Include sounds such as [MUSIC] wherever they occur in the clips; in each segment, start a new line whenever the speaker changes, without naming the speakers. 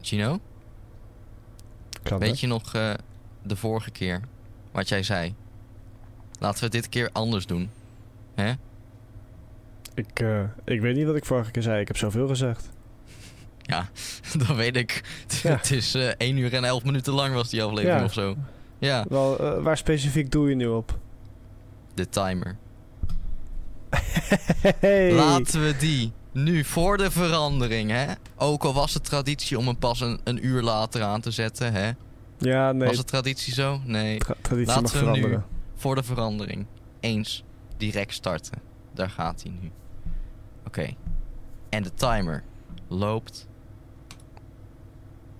Gino,
Kan
weet je nog eh, de vorige keer wat jij zei? Laten we het dit keer anders doen. [LAUGHS] Hè?
Ik, eh, ik weet niet wat ik vorige keer zei. Ik heb
[LAUGHS]
zoveel gezegd.
Ja, dat weet ik.
Ja.
Het is eh 1 uur en 11 minuten lang was die aflevering
Ja.
of zo. Ja,
Wel, eh, waar specifiek doe je nu op?
de timer.
Hey.
Laten we die nu voor de verandering, hè? Ook al was het traditie om hem pas een, een uur later aan te zetten, hè?
Ja, nee.
Was het traditie zo? Nee.
tra- traditie
Laten
mag
we hem nu-
veranderen.
Voor de verandering. Eens direct starten. Daar gaat hij nu. Oké. En de timer loopt.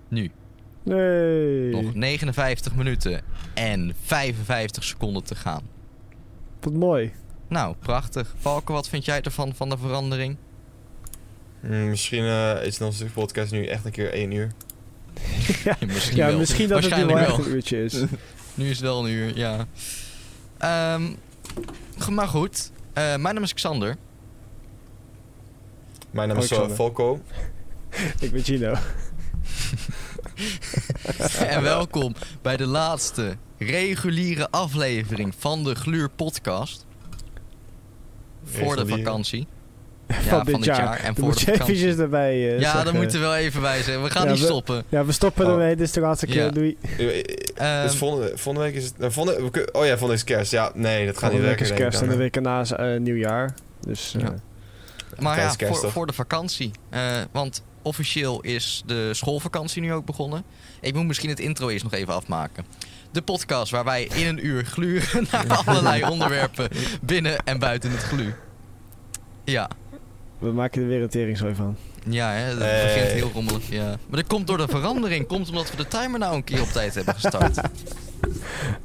Nu.
Nee.
Nog 59 minuten en 55 seconden te gaan.
Wat mooi.
Nou, prachtig. Valken, wat vind jij ervan van de verandering?
Mm, misschien eh, is onze podcast nu echt een keer één uur.
ja,
Misschien
ja,
wel.
misschien dat het nu wel
Waarschijnlijk
echt een uurtje
[LAUGHS]
is.
Nu is het wel een uur, ja. Ehm, ge- maar goed. Eh, mijn naam is Xander.
Mijn
Oh,
naam is eh,
Alexander. [LAUGHS]
Falco.
ik nou. ben Gino.
[LAUGHS] en welkom bij de laatste reguliere aflevering van de Gluur Podcast. Voor de
Reguliere.
[LAUGHS]
vakantie. Ja,
van dit jaar.
En
Dan
voor
moet
de
je
vakantie.
eventjes erbij
Ja,
eh,
daar
zeggen.
moeten we wel even bij zijn. We gaan
Ja,
niet
we-
stoppen.
Ja, we stoppen
Oh.
ermee. Dit is de laatste keer.
Ja.
Doei.
Eh, eh,
Ehm,
Dus volgende, volgende week is het... eh, volgende, we kun- oh ja, volgende week is kerst. Ja, nee, dat gaat
Volgende
niet
week
werken.
is
denk ik
kerst
dan,
en de
hè.
week erna is eh, nieuwjaar. Dus eh,
Ja. maar
Tijdens
ja,
kerst,
voor,
toch?
voor de vakantie. Eh, want officieel is de schoolvakantie nu ook begonnen. Ik moet misschien het intro eerst nog even afmaken. De podcast waar wij in een uur gluren [LAUGHS] naar
[LAUGHS]
allerlei onderwerpen binnen en buiten het glu. Ja,
we maken er weer een teringzooi van.
ja hè, het
Hey.
begint heel rommelig. Ja. Maar dat komt door de verandering. Komt omdat we de timer nou een keer op tijd hebben gestart.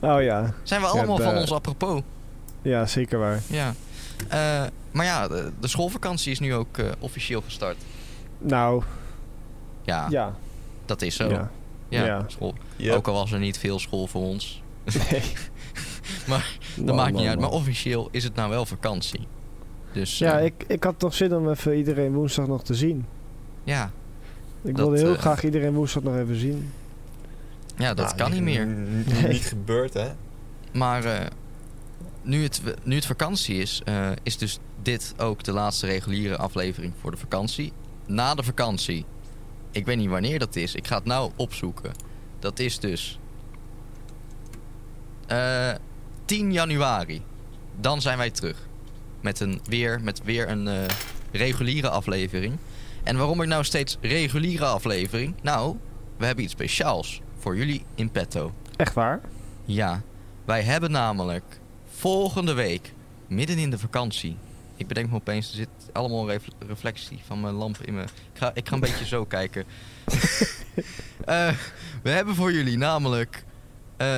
Oh ja,
Zijn we allemaal
de-
van ons apropos.
ja zeker waar.
Ja. Eh, maar ja, de, de schoolvakantie is nu ook eh, officieel gestart.
Nou,
Ja,
ja.
dat is Ah, zo. Ja,
ja. ja.
School.
Yep.
Ook al was er niet veel school voor ons.
Nee.
Maar
Man,
Dat maakt niet
man,
uit.
man.
Maar officieel is het nou wel vakantie. Dus
Ja,
eh,
ik, ik had toch zin om even iedereen woensdag nog te zien.
ja,
Ik
Dat,
wilde heel
eh,
graag iedereen woensdag nog even zien.
ja, dat
Nou,
kan niet meer.
n-
Nee.
n- Niet gebeurd, hè?
Maar eh, nu, het, nu het vakantie is, eh, is dus dit ook de laatste reguliere aflevering voor de vakantie. Na de vakantie. Ik weet niet wanneer dat is. Ik ga het nou opzoeken. Dat is dus eh, 10 januari. Dan zijn wij terug. Met, een, weer, met weer een eh, reguliere aflevering. En waarom ik nou steeds reguliere aflevering? Nou, we hebben iets speciaals voor jullie in petto.
Echt waar?
Ja, wij hebben namelijk volgende week, midden in de vakantie. Ik bedenk me opeens, er zit allemaal ref- reflectie van mijn lamp in me. Ik ga, ik ga een beetje zo kijken. Eh, we hebben voor jullie namelijk. eh,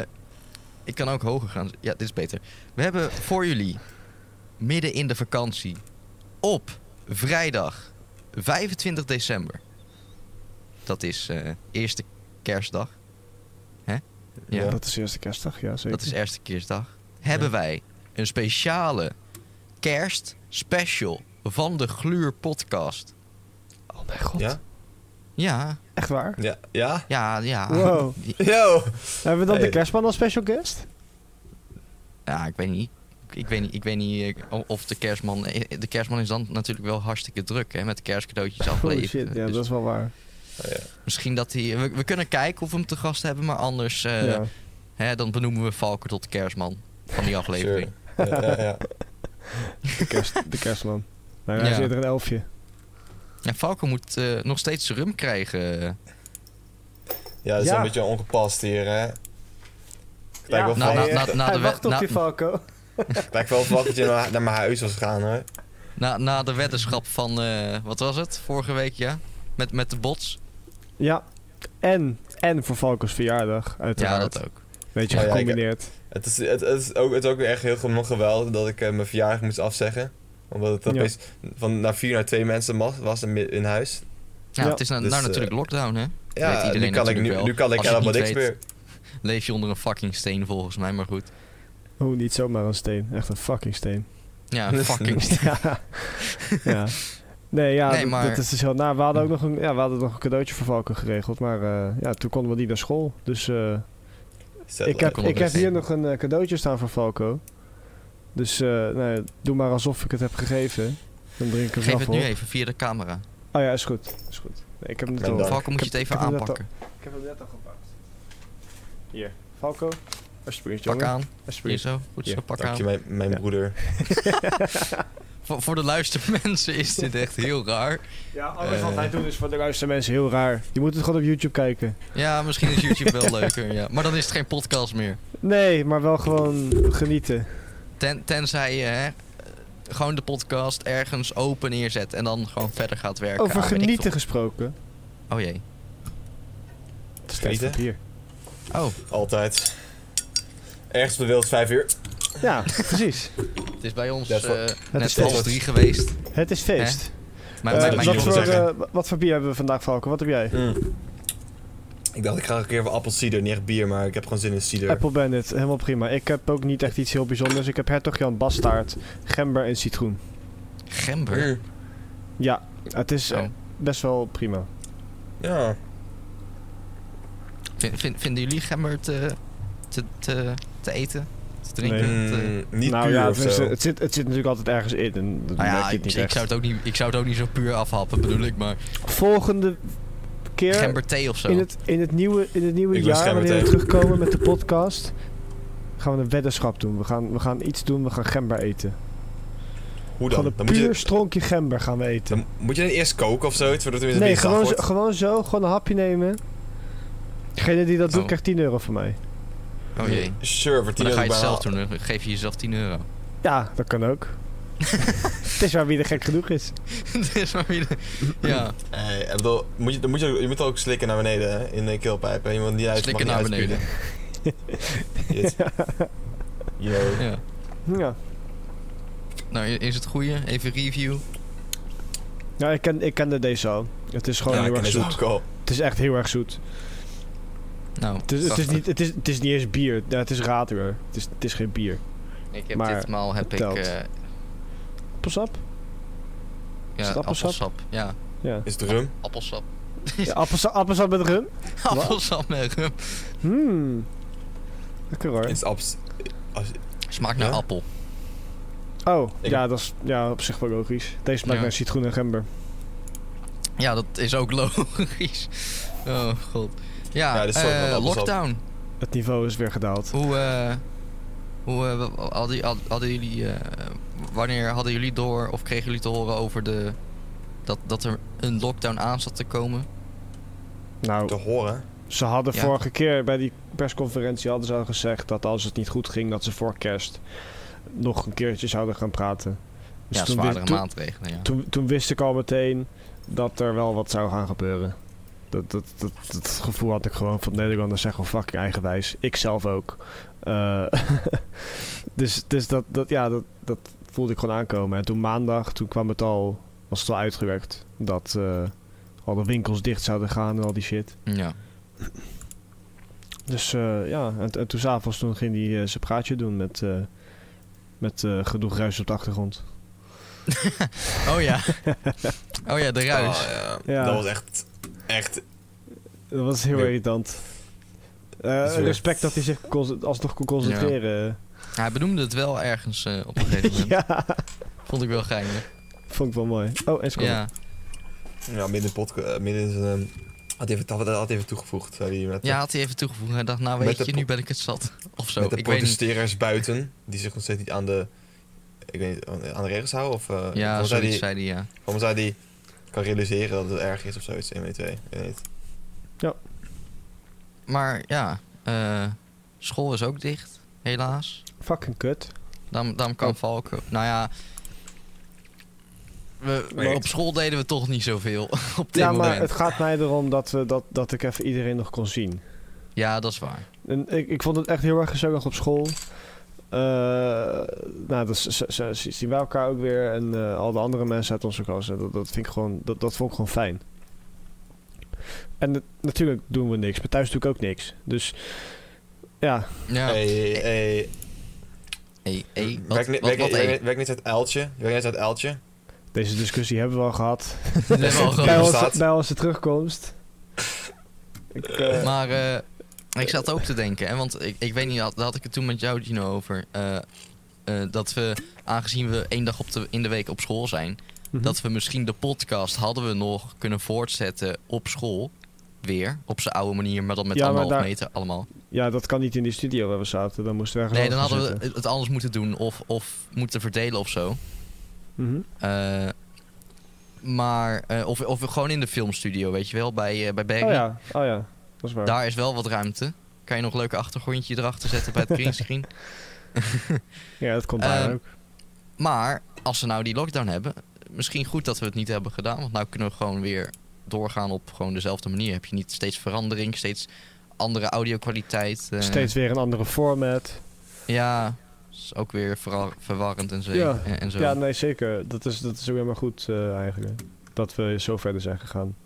ik kan ook hoger gaan. Ja, dit is beter. We hebben voor jullie midden in de vakantie op vrijdag 25 december. Dat is eh, eerste kerstdag. Hè?
Ja.
Dat is de eerste kerstdag, ja zeker.
Dat is eerste kerstdag. Hebben wij een speciale kerstspecial van de Gluur podcast.
Oh mijn god.
Ja?
Ja,
Echt waar?
Ja?
[LAUGHS]
Ja?
ja, [LAUGHS] ja.
Wow.
Yo!
Hebben we dan de
Hey.
kerstman als special guest?
Ja, ik weet niet. Ik weet niet, ik weet niet eh, o- of de kerstman... eh, De kerstman is dan natuurlijk wel hartstikke druk, hè? Met kerstcadeautjes
Oh
afleveren.
shit, ja
Dus
dat is wel waar.
Oh, ja.
Misschien dat hij... We, we kunnen kijken of we hem te gast hebben, maar anders... eh,
ja.
hè, dan benoemen we Valker tot kerstman
[LAUGHS]
van die aflevering.
Sure. Ja, ja, ja.
De, kerst, de kerstman. Nou, hij
Ja.
is eerder een elfje.
Ja, Valker moet eh, nog steeds rum krijgen. eh,
Ja, dat is
Ja.
een beetje ongepast hier, hè? Ik lijk wel
Na-
verwacht- [LAUGHS]
na- na- na
hij
de
wacht
we-
op
na-
je Falco.
ik lijk wel verwacht dat je naar, naar mijn huis was gegaan, hoor.
Na, na de weddenschap van, eh, wat was het? Vorige week, ja? Met, met de bots.
Ja. En, en voor Falco's verjaardag,
Ja,
uiteraard.
dat ook.
Beetje
Ja, ja, ik-
gecombineerd.
Het is, het, het is ook, het is ook weer echt heel nog geweldig dat ik eh, mijn verjaardag moest afzeggen. Omdat het
Ja.
opeens van naar vier naar twee mensen mag, was in, in huis.
Ja,
Ja.
het is na-
Dus,
nou
eh,
natuurlijk lockdown, hè? Weet
Ja,
iedereen
nu kan, ik,
natuurlijk
nu,
wel.
nu kan ik
Als je het
helemaal
niet
niks
weet.
meer.
Leef je onder een fucking steen volgens mij, maar goed.
Hoe niet [LAUGHS] zomaar een steen. Echt een fucking steen.
Ja, een fucking steen.
ja. ja. Nee, ja,
Nee,
dat-
maar- Hm.
dat is dus heel naar. We hadden ook nog een, ja, we hadden nog een cadeautje voor Valken geregeld, maar eh, ja, toen konden we niet naar school. Dus eh,
Zet
ik
lekker
heb,
kon
op.
ik heb
dus
hier
in.
nog een eh, cadeautje staan voor Valko. Dus eh, nou ja, doe maar alsof ik het heb gegeven. Dan drink ik hem
Geef
zelf
het
op.
nu even via de camera.
Oh ja, is goed. Is goed. Nee, ik heb hem net
Ja,
al.
dank.
Valken moet je
Ik
het
heb-
even
ik heb hem net
aanpakken.
Ik heb hem net al gepakt. Hier. Valko, alsjeblieft
Pak
jongen.
aan. Hier
Alsjeblieft.
zo. Goed zo,
Ja,
pak
Dank
aan.
je, mijn, mijn
Ja.
broeder.
Voor, voor de luistermensen is dit echt heel raar.
Ja, alles wat
Eh.
wij doen is voor de luistermensen heel raar. Je moet het gewoon op YouTube kijken.
Ja, misschien is YouTube
[LAUGHS]
wel leuker. Ja. Maar dan is het geen podcast meer.
Nee, maar wel gewoon genieten.
Ten, tenzij je hè, eh, gewoon de podcast ergens open neerzet en dan gewoon verder gaat werken.
Over
aan, weet ik veel.
genieten gesproken.
Oh jee.
Het staat
Genieten?
op hier.
Oh,
Altijd. Ergens op de wereld vijf uur.
[LAUGHS]
Ja, precies.
het is bij ons
Dat is wel-
eh,
is
net
feest.
half drie geweest.
Het is feest.
Maar
Eh,
mijn,
dat
mijn jongen
wat,
is
voor,
wel
zegt,
zeggen.
eh, wa- wat voor bier hebben we vandaag, Valko? Wat heb jij?
Mm. Ik dacht, ik ga een keer voor appelsieder. Niet echt bier, maar ik heb gewoon zin in cider.
Apple Bandit, helemaal prima. Ik heb ook niet echt iets heel bijzonders. Ik heb hertog Jan Bastaard, gember en citroen.
gember.
Mm.
Ja, het is eh,
Oh.
best wel prima.
Ja.
Vind- vind- vinden jullie gember te, te, te, te eten? Te drinken?
Nee.
Te-
Mm, niet
nou
puur
ja,
of
tenminste,
zo.
het zit, het zit natuurlijk altijd ergens in. En dat
Nou ja,
merk je
ik,
het niet
ik
echt.
zou het ook niet, ik zou het ook niet zo puur afhappen, bedoel ik, maar
Volgende keer
gember thee of zo.
in het, in het nieuwe, in het nieuwe
Ik wil
jaar,
gember
wanneer we
tegen.
terugkomen met de podcast, gaan we een weddenschap doen. We gaan, we gaan iets doen, we gaan gember eten.
Hoe dan?
Gewoon een
Dan moet,
puur
je,
stronkje gember gaan we eten.
dan moet je dan eerst koken of zoiets, voordat het weer
Nee,
weer zacht
gewoon zo,
wordt?
gewoon zo, gewoon een hapje nemen. Degene die dat doet
Oh.
krijgt 10 euro van mij.
Oh jee. Maar
Sure, voor 10
dan ga je
euro
het zelf
bijna-
doen, dan geef je jezelf 10 euro. [LAUGHS]
Ja, dat kan [LAUGHS] ook. het is waar wie er gek genoeg is.
Het is maar weer de- ja,
Hey, ik bedoel, moet je, dan moet je, je moet ook slikken naar beneden hè, in de keelpijp. Hè? Je moet niet uit,
slikken naar
mag niet
beneden.
[LAUGHS]
uitspuwen. Yes. Yo.
Ja.
Ja.
Nou, i- is het goeie? Even review.
Nou, ik, ken, ik kende deze al. Het is gewoon
Ja,
heel
ik
erg
ken
zoet.
dit ook al.
Het is echt heel erg zoet.
Nou,
Het is, het is,
prachtig.
niet, het is, het is niet eens bier. Ja, het is raadweer. Het is, het is geen bier.
Ik heb
maar
ditmaal heb ik
telt.
eh
Appelsap?
ja,
het appelsap?
appelsap. Ja,
Ja.
Is het rum?
appelsap.
ja appelsap, appelsap met rum?
appelsap met rum.
Hmm. Lekker hoor.
Is het abs- als-
Smaakt naar
Ja?
appel.
Oh,
Ik-
ja, dat is ja, op zich wel logisch. Deze smaakt
Ja.
naar citroen en gember.
Ja, dat is ook logisch. [LAUGHS] Oh god. Ja,
Ja, dit is wel
eh,
wel appelsap.
lockdown.
Het niveau is weer gedaald.
Hoe, eh, hoe eh, wa- hadden, had- hadden jullie, eh, wanneer hadden jullie door of kregen jullie te horen over de, dat, dat er een lockdown aan zat te komen?
Nou,
te horen.
Ze hadden
Ja.
vorige keer bij die persconferentie hadden ze al gezegd dat als het niet goed ging, dat ze voor kerst nog een keertje zouden gaan praten. Dus
ja,
toen,
zwaardere
wist, toen,
maatregelen, ja.
toen, toen wist ik al meteen dat er wel wat zou gaan gebeuren. Dat, dat, dat, dat gevoel had ik gewoon van Nederlanders zijn gewoon fucking eigenwijs. Ik zelf ook. Eh, [LAUGHS] dus dus dat, dat, ja, dat, dat voelde ik gewoon aankomen. En toen maandag, toen kwam het al, was het al uitgewerkt. Dat eh, al de winkels dicht zouden gaan en al die shit.
ja.
Dus eh, ja, en, en toen s'avonds toen ging hij eh, zijn praatje doen met, eh, met eh, genoeg ruis op de achtergrond.
Oh
[LAUGHS]
ja. Oh ja, de ruis.
Oh, ja.
Ja.
Dat was echt, echt
Dat was heel
Ja.
irritant. Eh,
Dat is weer-
respect dat hij zich kon- alsnog kon concentreren.
Hij benoemde het wel ergens eh, op een gegeven moment.
[LAUGHS] Ja.
Vond ik wel geinig.
vond ik wel mooi. Oh, en score.
Ja.
ja, midden in, podca- eh, midden in zijn... ehm, Had hij even, had, had hij even toegevoegd. Zei hij, met,
ja, had hij even toegevoegd. Hij dacht, nou weet
Met de
je,
po-
nu ben ik het zat. Of zo,
met de
ik weet niet.
protesteerders buiten. Die zich nog steeds niet aan de... Ik weet niet, aan aan de regels houden? Of, eh,
Ja,
waarom zei
zoiets
hij,
zei hij, ja.
waarom zei hij... Kan realiseren dat het erg is of zoiets. 1, 2, 1, 1.
Maar ja, eh, school is ook dicht, helaas.
Fucking kut.
Dan, dan kan
Oh.
Valken. Nou ja. We, we-
Nee.
op school deden we toch niet zoveel. [LAUGHS] Op dit
ja, maar
moment.
het gaat mij erom dat, we, dat, dat ik even iedereen nog kon zien.
Ja, dat is waar.
En ik, ik vond het echt heel erg gezellig op school. Eh, nou, dat z- z- z- zien wij elkaar ook weer. En eh, al de andere mensen uit onze klas. En Dat, dat, vind ik gewoon, dat, dat vond ik gewoon fijn. En het- natuurlijk doen we niks. Maar thuis doe ik ook niks. Dus ja,
Ja.
Hey, hey,
Hey, hey,
Werk
wat,
ni-
wat,
werk-
Hm.
wat, hey?
werk- werk niet uit uiltje. Werk niet uit uiltje.
Deze discussie hebben we al gehad.
Dat hebben we al
bij,
Bij
gehad.
ons-
onze,
staat.
bij onze terugkomst. Ik, eh,
Maar eh, ik zat ook te denken, hè, want ik, ik weet niet, had- daar had ik het toen met jou, Gino, over. eh, eh, dat we, aangezien we één dag op de, in de week op school zijn,
mhm.
dat we misschien de podcast hadden we nog kunnen voortzetten op school. Weer, op zijn oude manier, maar dan met
Ja, maar
anderhalf
daar-
meter allemaal.
Ja, dat kan niet in die studio waar we zaten. Dan moesten we ergens
Nee, dan
anders
hadden
gaan
we het anders moeten doen of, of moeten verdelen of zo.
zitten. Mhm.
Eh, maar, eh, of, of gewoon in de filmstudio, weet je wel, bij, eh, bij Barry.
Oh ja, oh ja. Dat is waar.
Daar is wel wat ruimte. Kan je nog een leuk achtergrondje erachter zetten
[LAUGHS]
bij het greenscreen.
Ja, dat komt daar
Ehm,
ook.
Maar als ze nou die lockdown hebben, misschien goed dat we het niet hebben gedaan. Want nou kunnen we gewoon weer doorgaan op gewoon dezelfde manier. Heb je niet steeds verandering, steeds andere audio-kwaliteit. eh,
Steeds weer een andere format.
Ja, is ook weer verra- verwarrend en zo.
Ja.
En, en zo. Nou,
Ja, nee, zeker. Dat is, dat is ook helemaal goed eh, eigenlijk. Dat we zo verder zijn gegaan.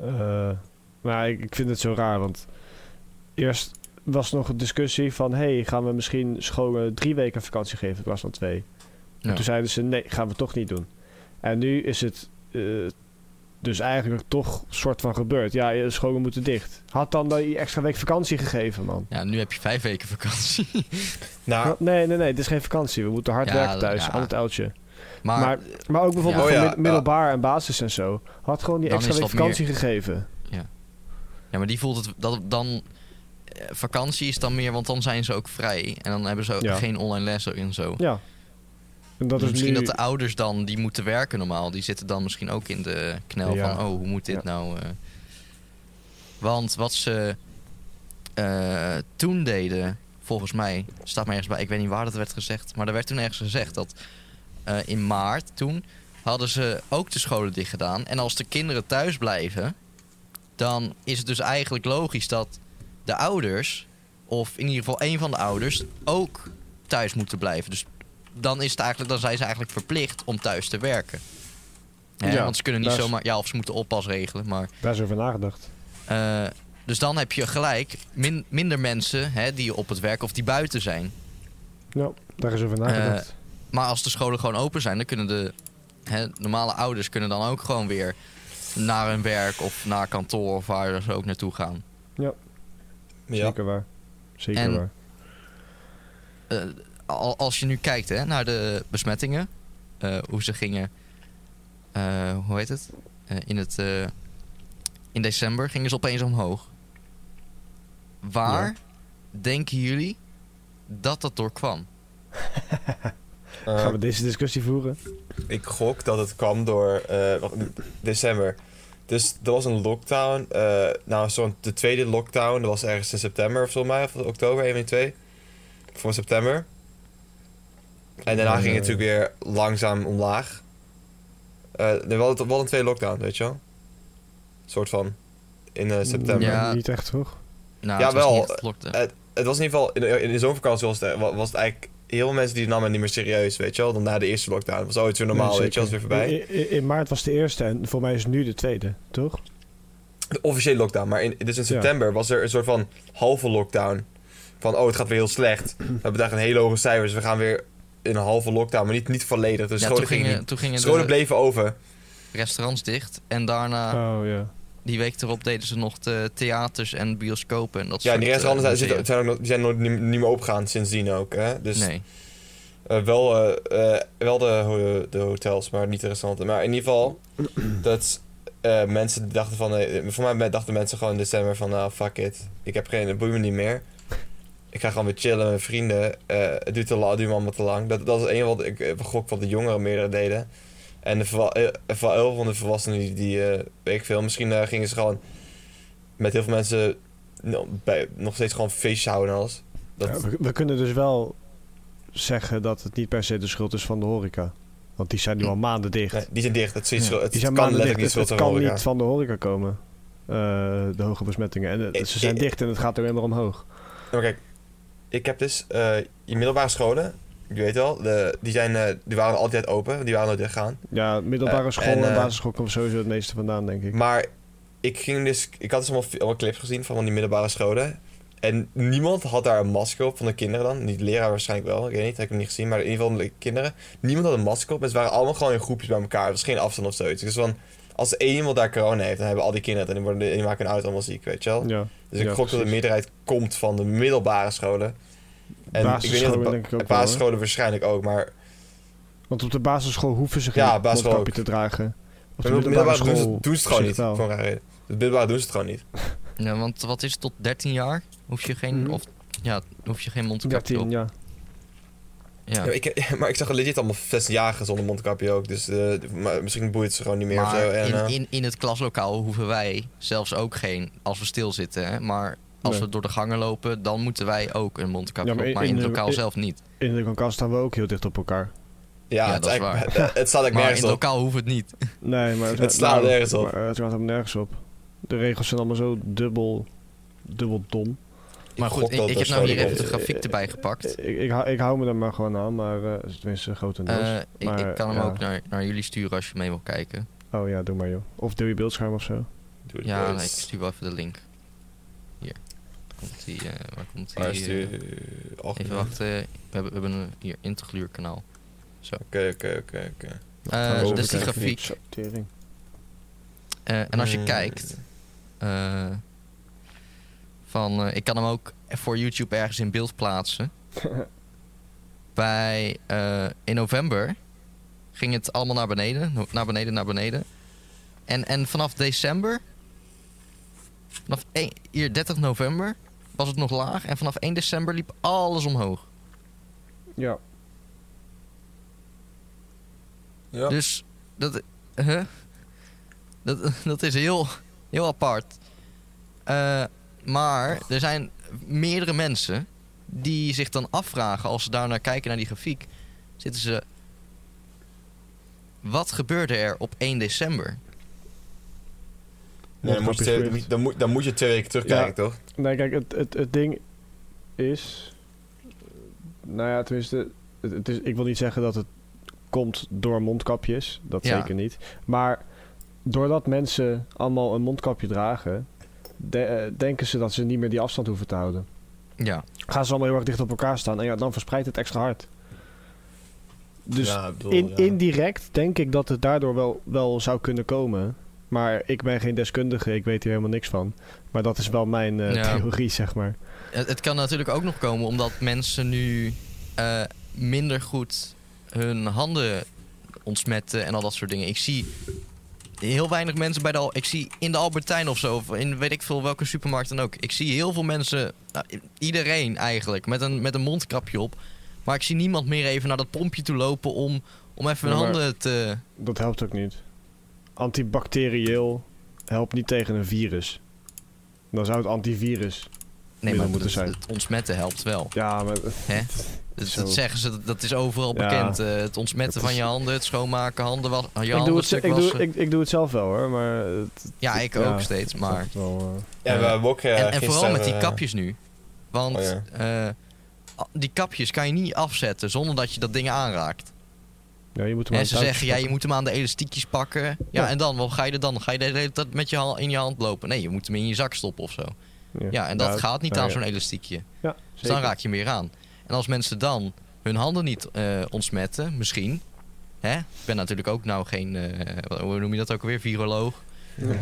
Eh, maar ik, ik vind het zo raar, want eerst was nog een discussie van... hey, gaan we misschien scholen drie weken vakantie geven in plaats van twee?
Ja.
Toen zeiden ze, nee, gaan we toch niet doen. En nu is het eh, dus eigenlijk toch soort van gebeurd. Ja, eh, scholen moeten dicht. Had dan die extra week vakantie gegeven, man.
Ja, nu heb je vijf weken vakantie. [LAUGHS]
Nou,
Nee, nee, nee, het is geen vakantie. We moeten hard
Ja,
werken thuis,
ja.
aan het uiltje.
Maar,
Maar- Maar ook bijvoorbeeld
Ja.
voor
Oh ja,
mid- middelbaar en basis en zo. Had gewoon die
eh, Dan
extra
is
week
dat meer-
vakantie gegeven.
ja, maar die voelt het dat dan. eh, Vakantie is dan meer, want dan zijn ze ook vrij. En dan hebben ze ook
Ja.
geen online lessen en zo.
Ja. En dat
Dus
is
misschien
nu...
dat de ouders dan, die moeten werken normaal, die zitten dan misschien ook in de knel
Ja.
van, oh, hoe moet dit
Ja.
nou? eh? Want wat ze eh, toen deden, volgens mij, staat mij ergens bij, ik weet niet waar dat werd gezegd, maar er werd toen ergens gezegd dat eh, in maart toen hadden ze ook de scholen dicht gedaan. En als de kinderen thuis blijven, dan is het dus eigenlijk logisch dat de ouders, of in ieder geval één van de ouders, ook thuis moeten blijven. Dus dan, is het eigenlijk, dan zijn ze eigenlijk verplicht om thuis te werken. Hè,
Ja,
want ze kunnen niet
daar is-
zomaar. Ja, of ze moeten oppas regelen. Maar,
Daar is over nagedacht.
eh, dus dan heb je gelijk min- minder mensen hè, die op het werk of die buiten zijn.
Ja, daar is over nagedacht.
Maar als de scholen gewoon open zijn, dan kunnen de hè, normale ouders kunnen dan ook gewoon weer naar hun werk of naar kantoor of waar ze ook naartoe gaan.
Eh, ja.
Zeker waar. Zeker
En-
waar.
Eh, al, als je nu kijkt hè, naar de besmettingen, eh, hoe ze gingen, eh, hoe heet het? Eh, in, het eh, in december gingen ze opeens omhoog. Waar denken jullie dat dat door kwam?
eh,
Gaan we deze discussie voeren?
ik gok dat het kwam door eh, wacht, december. Dus er was een lockdown. eh, nou, zo'n de tweede lockdown. Dat was ergens in september of zo, maar of oktober 1 en 2. Voor september. En daarna
Ja,
ging het
ja, ja.
natuurlijk weer langzaam omlaag. Eh we, hadden, we hadden een tweede lockdown, weet je wel? soort van. In eh, september.
Ja.
Niet echt, toch?
Nou,
Ja,
het was
wel,
niet echt lockdown.
eh, Het was in ieder geval, in, in de zomervakantie was het, eh, was het eigenlijk... Heel veel mensen die namen het niet meer serieus, weet je wel? Dan na de eerste lockdown. was ooit weer normaal,
Nee,
weet je wel? is weer
zeker.
voorbij.
In, in- in maart was de eerste en voor mij is nu de tweede, toch?
de officiële lockdown. Maar in, dus in
Ja.
september was er een soort van halve lockdown. Van, oh, het gaat weer heel
[CLEARS THROAT]
slecht. We hebben daar een hele hoge cijfers. We gaan weer in een halve lockdown, maar niet, niet volledig. Dus
ja,
scholen,
toen
gingen,
gingen, toen gingen dus-
scholen
de
bleven over.
restaurants dicht. En daarna,
Oh ja.
die week erop, deden ze nog de theaters en bioscopen. En dat
Ja, en die
soort, eh,
restaurants zijn,
musea.
zitten- zijn, ook, nog- die zijn nooit niet, niet meer opgegaan sindsdien ook. Hè? Dus
Nee.
eh, wel, eh, eh, wel de, ho- de hotels, maar niet de restauranten. Maar in ieder geval, dat eh, mensen dachten van... eh, voor mij dachten mensen gewoon in december van... Nou, fuck it. Ik heb geen... Het boeit me niet meer. Ik ga gewoon weer chillen met mijn vrienden. Eh, het, duurt te la- het duurt me allemaal te lang. Dat, dat is één wat ik eh, gok van de jongeren meerdere deden. En de verwa- eh, vooral van de volwassenen, die, die eh, weet ik veel. Misschien eh, gingen ze gewoon met heel veel mensen nou, bij, nog steeds gewoon feestjes houden en alles. Dat,
Ja, we, we kunnen dus wel zeggen dat het niet per se de schuld is van de horeca. Want die zijn nu al maanden dicht.
Hm. Nee, die zijn dicht. Het, is iets-
Ja.
het
Die
kan
zijn maanden
letterlijk
dicht.
niet
Het,
veel
het
te
kan
horen.
niet van de horeca komen. eh, de hoge besmettingen. En, eh,
Ik-
ze zijn
ik-
dicht en het gaat alleen maar omhoog.
Ja, maar kijk, ik heb dus eh je middelbare scholen, je weet wel, de, die, zijn, eh, die waren altijd open, die waren nooit weggegaan.
Ja, middelbare
Eh,
school en,
en, eh,
basisschool komt sowieso het meeste vandaan, denk ik.
Maar ik ging dus, ik had dus allemaal, fi- allemaal clips gezien van die middelbare scholen. En En niemand had daar een masker op van de kinderen dan. Niet de leraar waarschijnlijk wel, ik weet niet, heb ik hem niet gezien. Maar in ieder geval de kinderen. Niemand had een masker op. En ze waren allemaal gewoon in groepjes bij elkaar. Er was geen afstand of zoiets. Dus van, als één iemand daar corona heeft, dan hebben al die kinderen het. En die, worden, die maken hun auto allemaal ziek, weet je wel.
Ja.
Dus ik
Ja,
gok dat de
precies.
meerderheid komt van de middelbare scholen. En
Basisscholen
ik weet niet of de
denk ik ook
ba-
wel,
basisscholen waarschijnlijk ook, maar
Want op de basisschool hoeven ze geen
Ja, basisschool
mondkapje te dragen. Op
Maar op de middelbare doen ze,
school
doen ze het gewoon
op
niet.
zich wel.
Voor een rare reden. Op de middelbare doen ze het gewoon niet.
Ja, want wat is het, tot 13 jaar? Hoef je geen,
Mhm.
of, ja, hoef je geen mondkapje
13,
op.
ja.
Ja.
Ja, ik, [LAUGHS] maar ik zag legit allemaal 16-jarigen zonder mondkapje ook. Dus eh, maar misschien boeit het ze gewoon niet meer of
maar
zo. En,
in,
eh,
in, in het klaslokaal hoeven wij zelfs ook geen, als we stilzitten. Hè? Maar als
Nee.
we door de gangen lopen, dan moeten wij ook een mondkapje
Ja, maar
op.
in-
Maar in,
in
het
de-
lokaal
in-
zelf niet.
In de konkast staan we ook heel dicht op elkaar.
ja,
ja,
het,
dat is
eigenlijk- [LAUGHS] het- het staat eigenlijk
Maar in
nergens
het
op.
lokaal hoeft het niet.
Nee, maar
Het slaat
nou,
nergens op.
Maar het gaat helemaal nergens op. De regels zijn allemaal zo dubbel, dubbel dom.
Maar
gok
goed, ik,
dat
ik
dat
heb nou
zo
hier
de-
even de grafiek erbij gepakt.
Ik, ik, hou- ik hou me daar maar gewoon aan, maar eh tenminste grotendeels.
Eh, ik,
maar,
ik kan hem
ja.
ook naar, naar jullie sturen als je mee wil kijken.
Eh.
oh ja, doe maar joh. Of deel je beeldscherm of zo.
Doe het
Ja,
boys.
nee, ik stuur wel even de link. Hier. Komt die, eh, waar komt die?
Maar is die,
eh,
eh, algemeen?
even wachten. We hebben, we hebben een hier intergluurkanaal.
Oké, oké, oké, oké.
Eh,
Gaan we
dus die
overkijken.
grafiek.
Zo, tering.
Eh, en als je
Eh,
kijkt, eh, van, eh, ik kan hem ook voor YouTube ergens in beeld plaatsen. Bij, eh, in november ging het allemaal naar beneden, no- naar beneden, naar beneden. En, en vanaf december, vanaf één- hier 30 november, was het nog laag. En vanaf 1 december liep alles omhoog.
Ja,
Ja.
Dus dat, huh? dat, [LAUGHS] dat is heel, heel apart. Eh, maar er zijn meerdere mensen die zich dan afvragen als ze daarnaar kijken naar die grafiek. Zitten ze. Wat gebeurde er op 1 december?
Nee, dan, moet je,
Mondkapjes
twee-
weird.
dan, moet, dan moet je twee weken terugkijken, toch?
Nee, kijk, het, het, het ding is. Nou ja, tenminste. Het, het is, ik wil niet zeggen dat het komt door mondkapjes. Dat
Ja.
zeker niet. Maar doordat mensen allemaal een mondkapje dragen. de- eh, denken ze dat ze niet meer die afstand hoeven te houden.
Ja,
Gaan ze allemaal heel erg dicht op elkaar staan. En ja, dan verspreidt het extra hard. Dus
ja, ik bedoel,
in,
ja.
indirect denk ik dat het daardoor wel, wel zou kunnen komen. Maar ik ben geen deskundige. Ik weet hier helemaal niks van. Maar dat is wel mijn eh,
Ja.
theorie, zeg maar.
het, het kan natuurlijk ook nog komen omdat mensen nu eh, minder goed hun handen ontsmetten en al dat soort dingen. Ik zie heel weinig mensen bij de. Al- Ik zie in de Albertijn of zo, of in weet ik veel welke supermarkt dan ook. Ik zie heel veel mensen, nou, i- iedereen eigenlijk, met een, met een mondkapje op. Maar ik zie niemand meer even naar dat pompje toe lopen om, om even hun
Ja, maar-
handen te.
Dat helpt ook niet. Antibacterieel helpt niet tegen een virus. Dan zou het antivirus.
Nee,
Middel
maar
moeten
het,
zijn.
het ontsmetten helpt wel.
Ja, maar
Dat,
Zo.
dat zeggen ze, dat, dat is overal
Ja.
bekend. eh, het ontsmetten
Het
van
is-
je handen, het schoonmaken, handen, was, je
ik
handen
doe, het,
stuk
ik, doe,
wassen.
ik, ik doe het zelf wel hoor, maar het
ja, ik
ja,
ook steeds, maar...
het wel, eh,
En we hebben ook, eh,
en, en
gisteren,
vooral met die
eh,
kapjes nu. Want
Oh ja.
eh, a- die kapjes kan je niet afzetten zonder dat je dat ding aanraakt.
ja, je moet hem
En
aan
ze
touwtjes
zeggen, ja, je
pakken.
moet hem aan de elastiekjes pakken. Ja,
Ja.
en dan? Wat ga je er dan? Ga je de hele tijd met je hand in je hand lopen? Nee, je moet hem in je zak stoppen of zo. Ja, en dat gaat niet
nou
aan
ja.
zo'n elastiekje.
Ja,
Dus dan
zeker.
raak je meer aan. En als mensen dan hun handen niet eh, ontsmetten, misschien. Hè? Ik ben natuurlijk ook nou geen, eh, hoe noem je dat ook alweer, viroloog.
Want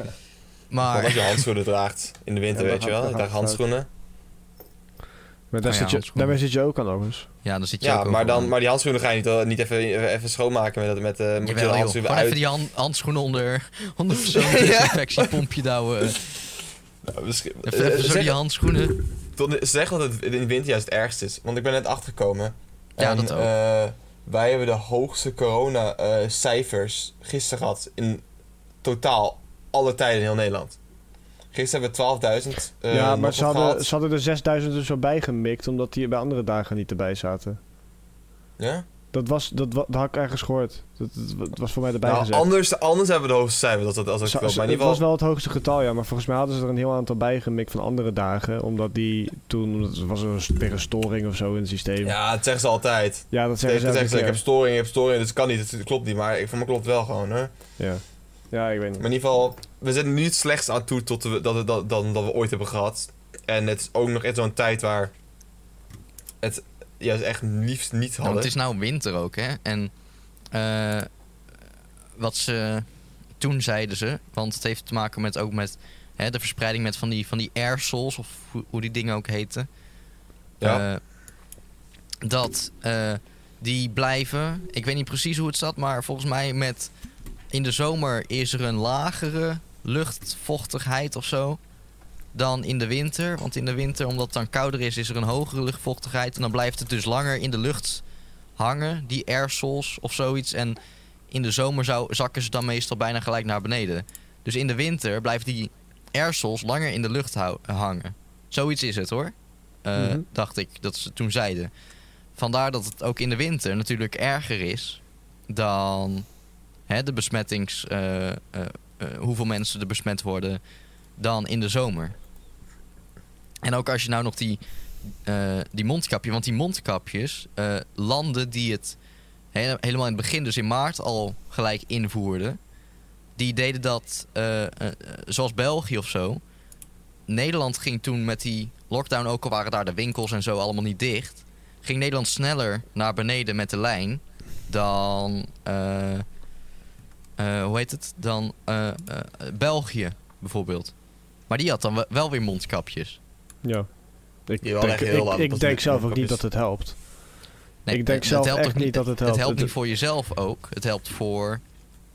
Maar
als je handschoenen draagt in de winter,
Ja, dan
weet je
gaat-
wel.
dan
Ik
gaat
draag
het fout.
handschoenen.
Maar daar
Oh ja,
zit je,
handschoenen.
daarmee zit je ook aan alles.
ja, dan zit je ook
Ja, maar,
overal
dan,
aan.
maar die handschoenen ga je niet, eh, niet even, even, even schoonmaken met, dat- met eh moet je
Jawel,
de
joh.
handschoenen
Gewoon
uit.
even die hand- handschoenen onder, [LAUGHS]
[LAUGHS]
onder zo'n desinfectiepompje douwen. Even,
Nou, misschien- eh,
even zo
zeg-
die handschoenen.
Tot, ze zeggen dat het in de winter juist het ergste is. Want ik ben net achtergekomen.
Ja,
En,
dat ook.
eh, wij hebben de hoogste corona-cijfers gisteren gehad. In totaal alle tijden in heel Nederland. Gisteren hebben we 12.000. eh,
ja,
nog
maar
wat
ze hadden,
gehad.
ze hadden er 6000 er zo bij gemikt, omdat die bij andere dagen niet erbij zaten.
Ja?
Dat, was, dat, wa- dat had ik ergens gehoord. Dat, dat, dat was voor mij erbij
Nou,
gezegd.
anders, anders hebben we de hoogste cijfers. Dat, dat, als ik
Zo-
klopt.
zo-
Maar in
het
ieder
was
geval.
wel het hoogste getal, ja. Maar volgens mij hadden ze er een heel aantal bij gemikt van andere dagen. Omdat die toen... omdat het was een, s- weer een storing of zo in het systeem. Ja,
Ja, dat zeggen ze altijd.
dat
Ze
zeggen ze
zeggen
elke
ze, ik
keer.
heb storing, ik heb storing. Dus het kan niet, het klopt niet. Maar ik- voor me klopt het wel gewoon, hè.
Ja. ja, ik weet niet.
Maar in ieder geval, we zitten nu het slechtst aan toe tot we, dat, dat, dat, dan dat we ooit hebben gehad. En het is ook nog echt zo'n tijd waar het juist echt liefst niet
Nou,
hadden.
het is nou winter ook, hè? En eh, wat ze toen zeiden ze, want het heeft te maken met ook met hè, de verspreiding met van die, van die airsols, of hoe, hoe die dingen ook heten.
ja.
Eh, dat eh, die blijven, ik weet niet precies hoe het zat, maar volgens mij met in de zomer is er een lagere luchtvochtigheid of zo dan in de winter. Want in de winter, omdat het dan kouder is, is er een hogere luchtvochtigheid. En dan blijft het dus langer in de lucht hangen, die airsols of zoiets. En in de zomer zou, zakken ze dan meestal bijna gelijk naar beneden. Dus in de winter blijft die airsols langer in de lucht hou- hangen. Zoiets is het hoor. Eh,
Mhm.
Dacht ik dat ze toen zeiden. Vandaar dat het ook in de winter natuurlijk erger is dan hè, de besmettings. eh, eh, eh, hoeveel mensen er besmet worden dan in de zomer. En ook als je nou nog die, eh, die mondkapje, want die mondkapjes, eh, landen die het he- helemaal in het begin, dus in maart al gelijk invoerden, die deden dat eh, eh, eh, zoals België of zo. Nederland ging toen met die lockdown, ook al waren daar de winkels en zo allemaal niet dicht, ging Nederland sneller naar beneden met de lijn dan, eh, eh, hoe heet het, dan eh, eh, België bijvoorbeeld. Maar die had dan we- wel weer mondkapjes.
Ja. Ik
Je wel
denk,
echt heel
ik,
laat
ik
pas
denk
met
zelf ook niet
mondkapjes.
dat het helpt.
Nee, eh,
Ik denk
het
zelf
helpt
echt
ook
niet dat het helpt.
Het helpt
Het-
niet voor jezelf ook. Het helpt voor,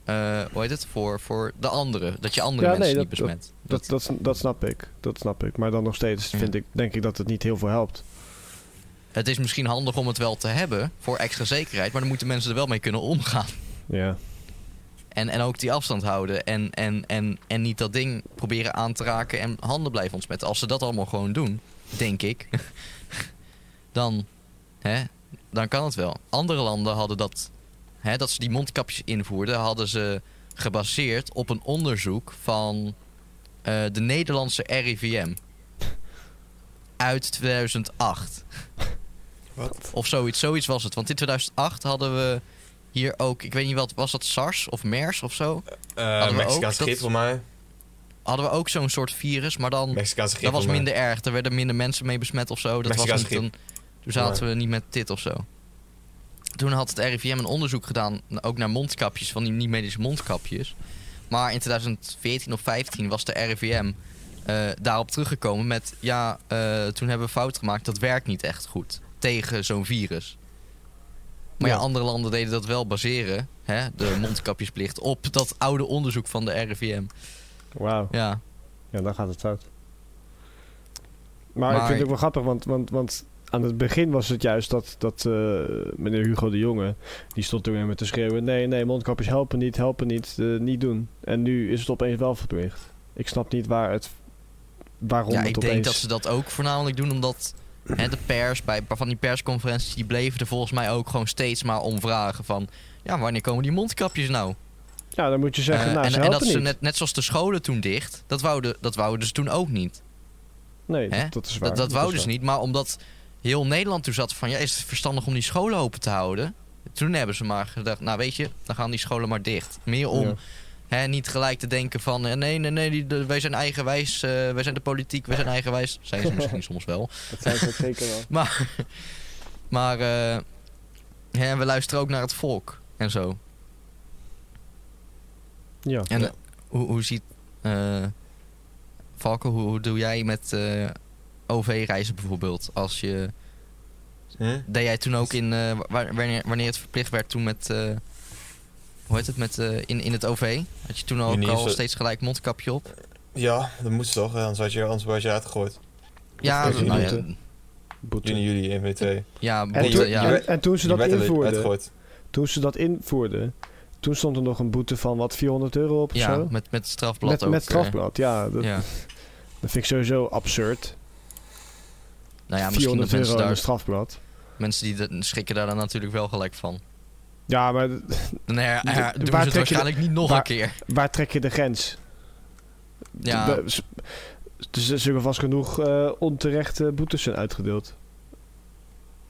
eh, hoe heet het, voor, voor de anderen. Dat je andere
Ja,
mensen
nee,
niet
dat-
besmet.
Dat, dat, s- dat snap ik. Dat snap ik. Maar dan nog steeds
Ja.
vind ik, denk ik dat het niet heel veel helpt.
Het is misschien handig om het wel te hebben voor extra zekerheid. Maar dan moeten mensen er wel mee kunnen omgaan.
Ja.
En, en ook die afstand houden. En, en, en, en niet dat ding proberen aan te raken en handen blijven ontsmetten. Als ze dat allemaal gewoon doen, denk ik, [LAUGHS] dan, hè, dan kan het wel. Andere landen hadden dat, hè, dat ze die mondkapjes invoerden, hadden ze gebaseerd op een onderzoek van eh, de Nederlandse RIVM. Uit 2008.
Wat?
Of zoiets, zoiets was het. Want in 2008 hadden we hier ook, ik weet niet wat, was dat SARS of MERS of zo?
Eh
Hadden we
Mexicaans
ook
griep
dat-
voor mij.
hadden we ook zo'n soort virus, maar dan
Mexicaanse griep
dat was
voor mij.
minder erg. Er werden minder mensen mee besmet of zo. Dat was
Mexicaanse
niet een, toen zaten we niet met dit of zo. Toen had het RIVM een onderzoek gedaan, n- ook naar mondkapjes, van die niet-medische mondkapjes. Maar in 2014 of 15 was de RIVM eh, daarop teruggekomen met... ja, eh, toen hebben we fout gemaakt, dat werkt niet echt goed tegen zo'n virus. Maar ja.
Ja.
andere landen deden dat wel baseren, hè, de mondkapjesplicht... op dat oude onderzoek van de RIVM.
Wauw.
Ja.
Ja, dan gaat het fout. Maar, ik
Maar-
vind het ook wel grappig, want, want, want aan het begin was het juist dat, dat eh, meneer Hugo de Jonge, die stond toen met te schreeuwen, nee, nee, mondkapjes helpen niet, helpen niet, eh, niet doen. En nu is het opeens wel verplicht. Ik snap niet waar het, waarom
Ja,
het
ik
opeens...
denk dat ze dat ook voornamelijk doen omdat hè, de pers, bij van die persconferenties, die bleven er volgens mij ook gewoon steeds maar om vragen van, ja, wanneer komen die mondkapjes nou?
Ja, dan moet je zeggen,
Eh,
nou,
en,
ze
en
helpen
dat ze
niet.
net, net zoals de scholen toen dicht, dat wouden, dat wouden ze toen ook niet.
nee,
hè?
dat, dat is waar.
Dat, dat wouden
is
ze niet, maar omdat heel Nederland toen zat van, ja, is het verstandig om die scholen open te houden? Toen hebben ze maar gedacht, nou weet je, dan gaan die scholen maar dicht. Meer
waar.
om
Ja.
Hè, niet gelijk te denken van eh, nee, nee, nee, die, de- wij zijn eigenwijs, eh, wij zijn de politiek, wij zijn eigenwijs. Zijn ze
[LAUGHS]
misschien soms wel.
Dat zijn ze zeker
[LAUGHS]
wel.
Maar, maar eh, hè, we luisteren ook naar het volk en zo.
Ja.
En
Ja.
eh, hoe, hoe ziet eh Valken, hoe, hoe doe jij met eh, OV-reizen bijvoorbeeld? Als je,
Hm?
deed jij toen ook in, eh, wa- wanneer, wanneer het verplicht werd toen met, eh, hoe heet het, met, eh, in, in het OV? Had je toen ook
Wanneer is
al
het-
steeds gelijk mondkapje op?
Ja, dat moest toch, eh, anders had je, anders was je uitgegooid.
Ja,
is
dat-
in
nou ja,
Boete. Boete.
Juni, juli, 1, 2.
ja,
En,
boete,
toen,
je-
ja.
en, en toen ze
je
dat
werd er
invoerden,
uitgegooid.
toen ze dat invoerden, toen stond er nog een boete van wat 400 euro op of
Ja,
zo.
met, met strafblad
Met,
ook.
met
eh,
strafblad, ja dat,
ja.
dat vind ik sowieso absurd.
Nou ja, misschien dat
400 euro
mensen,
in een
daar,
strafblad.
mensen die dat- schrikken daar dan natuurlijk wel gelijk van.
Ja, maar d-
Dan her,
D-
her-
waar
Nou doen ze
trek
het
je
waarschijnlijk niet nog
waar-
een
[LAUGHS]
keer.
waar trek je de grens?
Ja.
D- we- s- Dus er zullen vast genoeg eh, onterechte boetes zijn uitgedeeld.